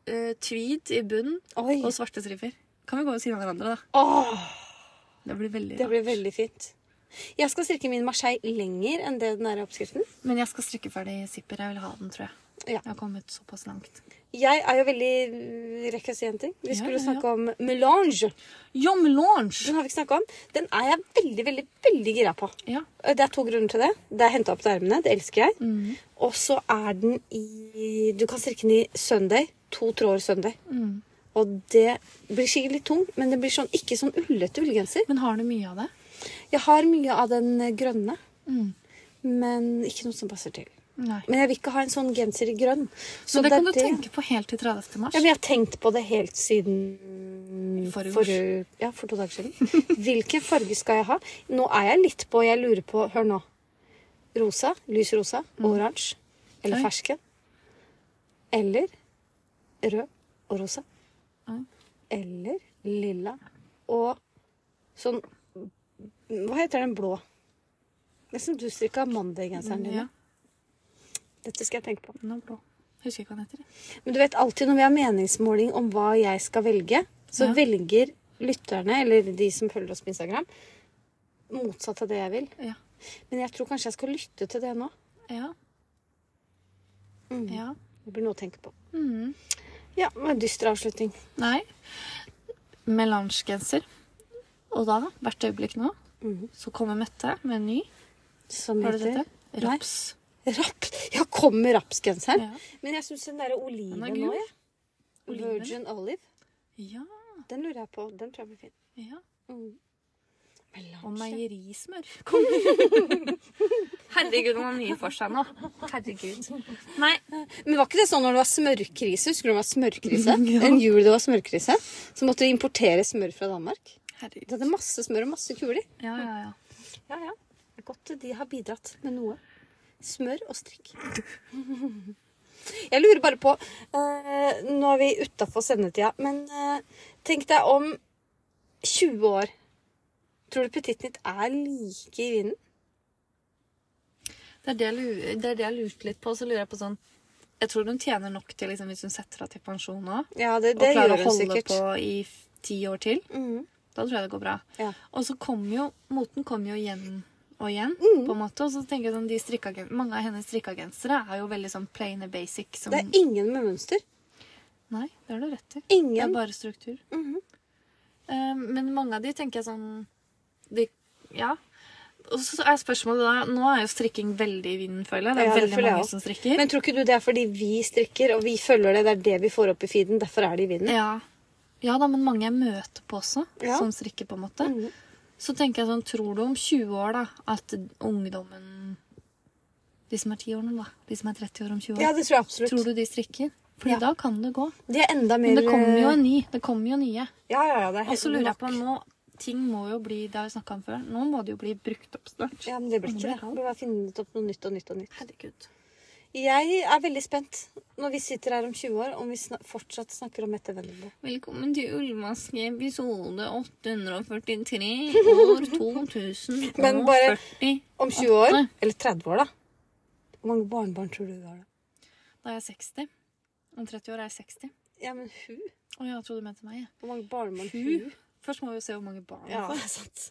A: eh, tweed i bunnen
B: Oi.
A: og svarte striper. Kan vi gå ved siden av hverandre, da?
B: Åh,
A: Det blir veldig
B: det blir
A: rart.
B: veldig fint. Jeg skal strikke min Marseille lenger enn det den er i oppskriften.
A: Men jeg skal strikke ferdig zipper. Jeg vil ha den, tror jeg.
B: Ja.
A: Jeg har kommet såpass langt.
B: Jeg er jo veldig mm, Rekker jeg å si en ting? Vi
A: Ja,
B: skulle
A: ja, ja.
B: snakke om melange.
A: Jom Launch!
B: Den har vi ikke snakka om. Den er jeg veldig, veldig, veldig gira på. Øh,
A: Ja.
B: Det er to grunner til det. Det er henta opp til ermene. Det elsker jeg.
A: Mm.
B: Og så er den i Du kan strikke den i søndag. To tråder søndag.
A: Mm.
B: Og det blir sikkert litt tung, men det blir sånn, ikke sånn ullete ullgenser.
A: Men har du mye av det?
B: Jeg har mye av den øh, grønne,
A: Mm.
B: men ikke noe som passer til.
A: Nei.
B: Men jeg vil ikke ha en sånn genser i grønn. Så
A: Men det kan
B: er
A: du tenke på helt til 30. mars.
B: Ja, men jeg har tenkt på det helt siden
A: Forrige
B: ja, for to dager siden. Hvilken farge skal jeg ha? Nå er jeg litt på Jeg lurer på Hør nå. Rosa. Lys rosa. Oransje. Eller
A: Mm. Oi.
B: fersken. Eller rød og rosa.
A: Oi.
B: Eller lilla og sånn Hva heter den blå? Nesten du strikka mandaggenseren din.
A: Mm, Ja,
B: Ja. Dette skal jeg tenke på.
A: den er blå. Husker ikke hva den heter. jeg.
B: Men du vet alltid når vi har meningsmåling om hva jeg skal velge, så
A: Ja.
B: velger lytterne, eller de som følger oss på Instagram, motsatt av det jeg vil.
A: Ja.
B: Men jeg tror kanskje jeg skal lytte til det nå.
A: Ja.
B: Mm.
A: ja.
B: Det blir noe å tenke på.
A: Mm.
B: Ja, det var en dyster avslutning.
A: Nei. Melange-genser. Og da, hvert øyeblikk nå,
B: Mhm.
A: så kommer Mm. Mette med en ny.
B: Som
A: Har du
B: heter
A: dette? Raps.
B: Rapp. Ja, kom med rapsgenseren.
A: Ja.
B: Men jeg syns den derre oliven
A: Den er
B: nå,
A: gul.
B: jeg.
A: Oliven.
B: Virgin olive.
A: ja.
B: Den lurer jeg på. Den tror jeg blir fin.
A: ja.
B: Mm.
A: Og
B: Melange.
A: meierismør. Kom. Herregud, hun har mye for seg nå. Herregud. Nei.
B: Men var ikke det sånn når det var smørkrise? Husker du det var smørkrise?
A: Ja.
B: En jul det var smørkrise, så måtte vi importere smør fra Danmark.
A: Herregud.
B: Det hadde masse smør og masse kuler.
A: Ja, ja, ja.
B: Ja, ja. Det er godt de har bidratt med noe. Smør og strikk. Jeg lurer bare på eh, Nå er vi utafor sendetida, men eh, tenk deg om 20 år. Tror du Petit Nytt er like i vinden?
A: Det er det jeg lu- det er det jeg lurte litt på. Så lurer jeg på sånn Jeg tror hun tjener nok til liksom, hvis hun setter av til pensjon nå.
B: Ja, det,
A: og klarer å holde på i f- ti år til.
B: Mhm.
A: Da tror jeg det går bra.
B: Ja.
A: Og så kommer jo Moten kommer jo igjen og igjen,
B: Mm.
A: på en måte. Og så tenker jeg sånn, de strikkeagen- Mange av hennes strikkagensere er jo veldig sånn plain and basic. Som,
B: Det er ingen med mønster.
A: Nei, det har du rett i. Det er
B: Ingen.
A: bare struktur.
B: Mhm.
A: Eh, men mange av de tenker jeg sånn de, Ja. Og så er spørsmålet da Nå er jo strikking veldig i vinden, føler jeg. Det er
B: Ja, det
A: veldig
B: føler jeg
A: mange
B: også.
A: som strikker.
B: Men tror ikke du det er fordi vi strikker, og vi følger det? Det er det vi får opp i feeden. Derfor er det i vinden.
A: Ja. ja da, men mange jeg møter på også,
B: Ja.
A: som strikker, på en måte.
B: Mhm.
A: Så tenker jeg sånn, tror du om 20 år da, at ungdommen De som er 10 år nå, da. De som er 30 år om 20 år.
B: Ja, det tror jeg absolutt.
A: tror du de strikker? Fordi
B: Ja.
A: da kan det gå.
B: De er enda mer eh,
A: Men det kommer jo en ny. Det kommer jo nye.
B: Ja, ja, ja, det er
A: Og så lurer
B: nok.
A: jeg på nå Ting må jo bli Det har vi snakka om før. Nå må det jo bli brukt opp snart.
B: Ja, men det blir
A: Nå
B: ikke
A: blir
B: det.
A: det
B: Vi må finne opp noe nytt og nytt og nytt.
A: Herregud.
B: Jeg er veldig spent når vi sitter her om 20 år, om vi sna fortsatt snakker om Mette Vennebo.
A: Velkommen til Ullmaske episode 843 år 2040.
B: Men bare- Om 20 år? Eller 30 år, da. Hvor mange barnebarn tror du du har da?
A: Da er jeg 60. Om 30 år er jeg 60.
B: Ja, men hun?
A: Å ja, jeg trodde du mente meg. jeg.
B: Hvor mange barnebarn
A: Hun?
B: hun?
A: Først må vi jo se hvor mange barn hun
B: Ja,
A: får.
B: det er sant.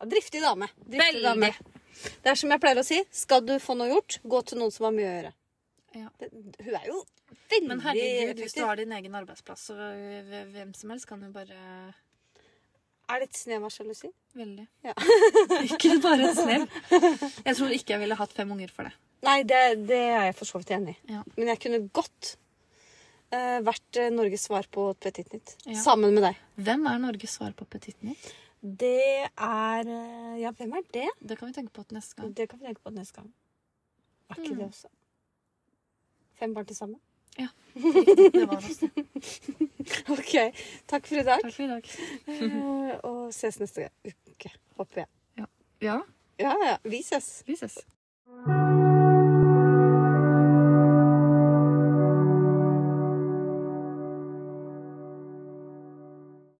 B: Ja, driftig dame. Driftig
A: Veldig.
B: dame. Det er som jeg pleier å si, skal du få noe gjort, gå til noen som har mye å gjøre.
A: Ja.
B: Det, hun Mm, er jo veldig
A: Men herregud, hvis du
B: effektiv.
A: har din egen arbeidsplass, så hv- hvem som helst kan jo bare
B: Er det et snev av sjalusi?
A: Veldig.
B: Ja.
A: ikke bare et snev. Jeg tror ikke jeg ville hatt fem unger for det.
B: Nei, det, det er jeg for så vidt enig i.
A: Ja.
B: Men jeg kunne godt eh, vært eh, Norges svar på Petit Nytt.
A: Ja.
B: Sammen med deg.
A: Hvem er Norges svar på Petit Nytt?
B: Det er eh, Ja, hvem er det?
A: Det kan vi tenke på til neste gang.
B: Det kan vi tenke på neste gang. Er ikke det også? Fem barn til sammen?
A: Det var oss, det.
B: OK. Takk for i dag.
A: Takk for i dag.
B: Eh, Og ses neste uke, håper jeg.
A: Ja,
B: Ja, ja. Vi ses.
A: vi ses.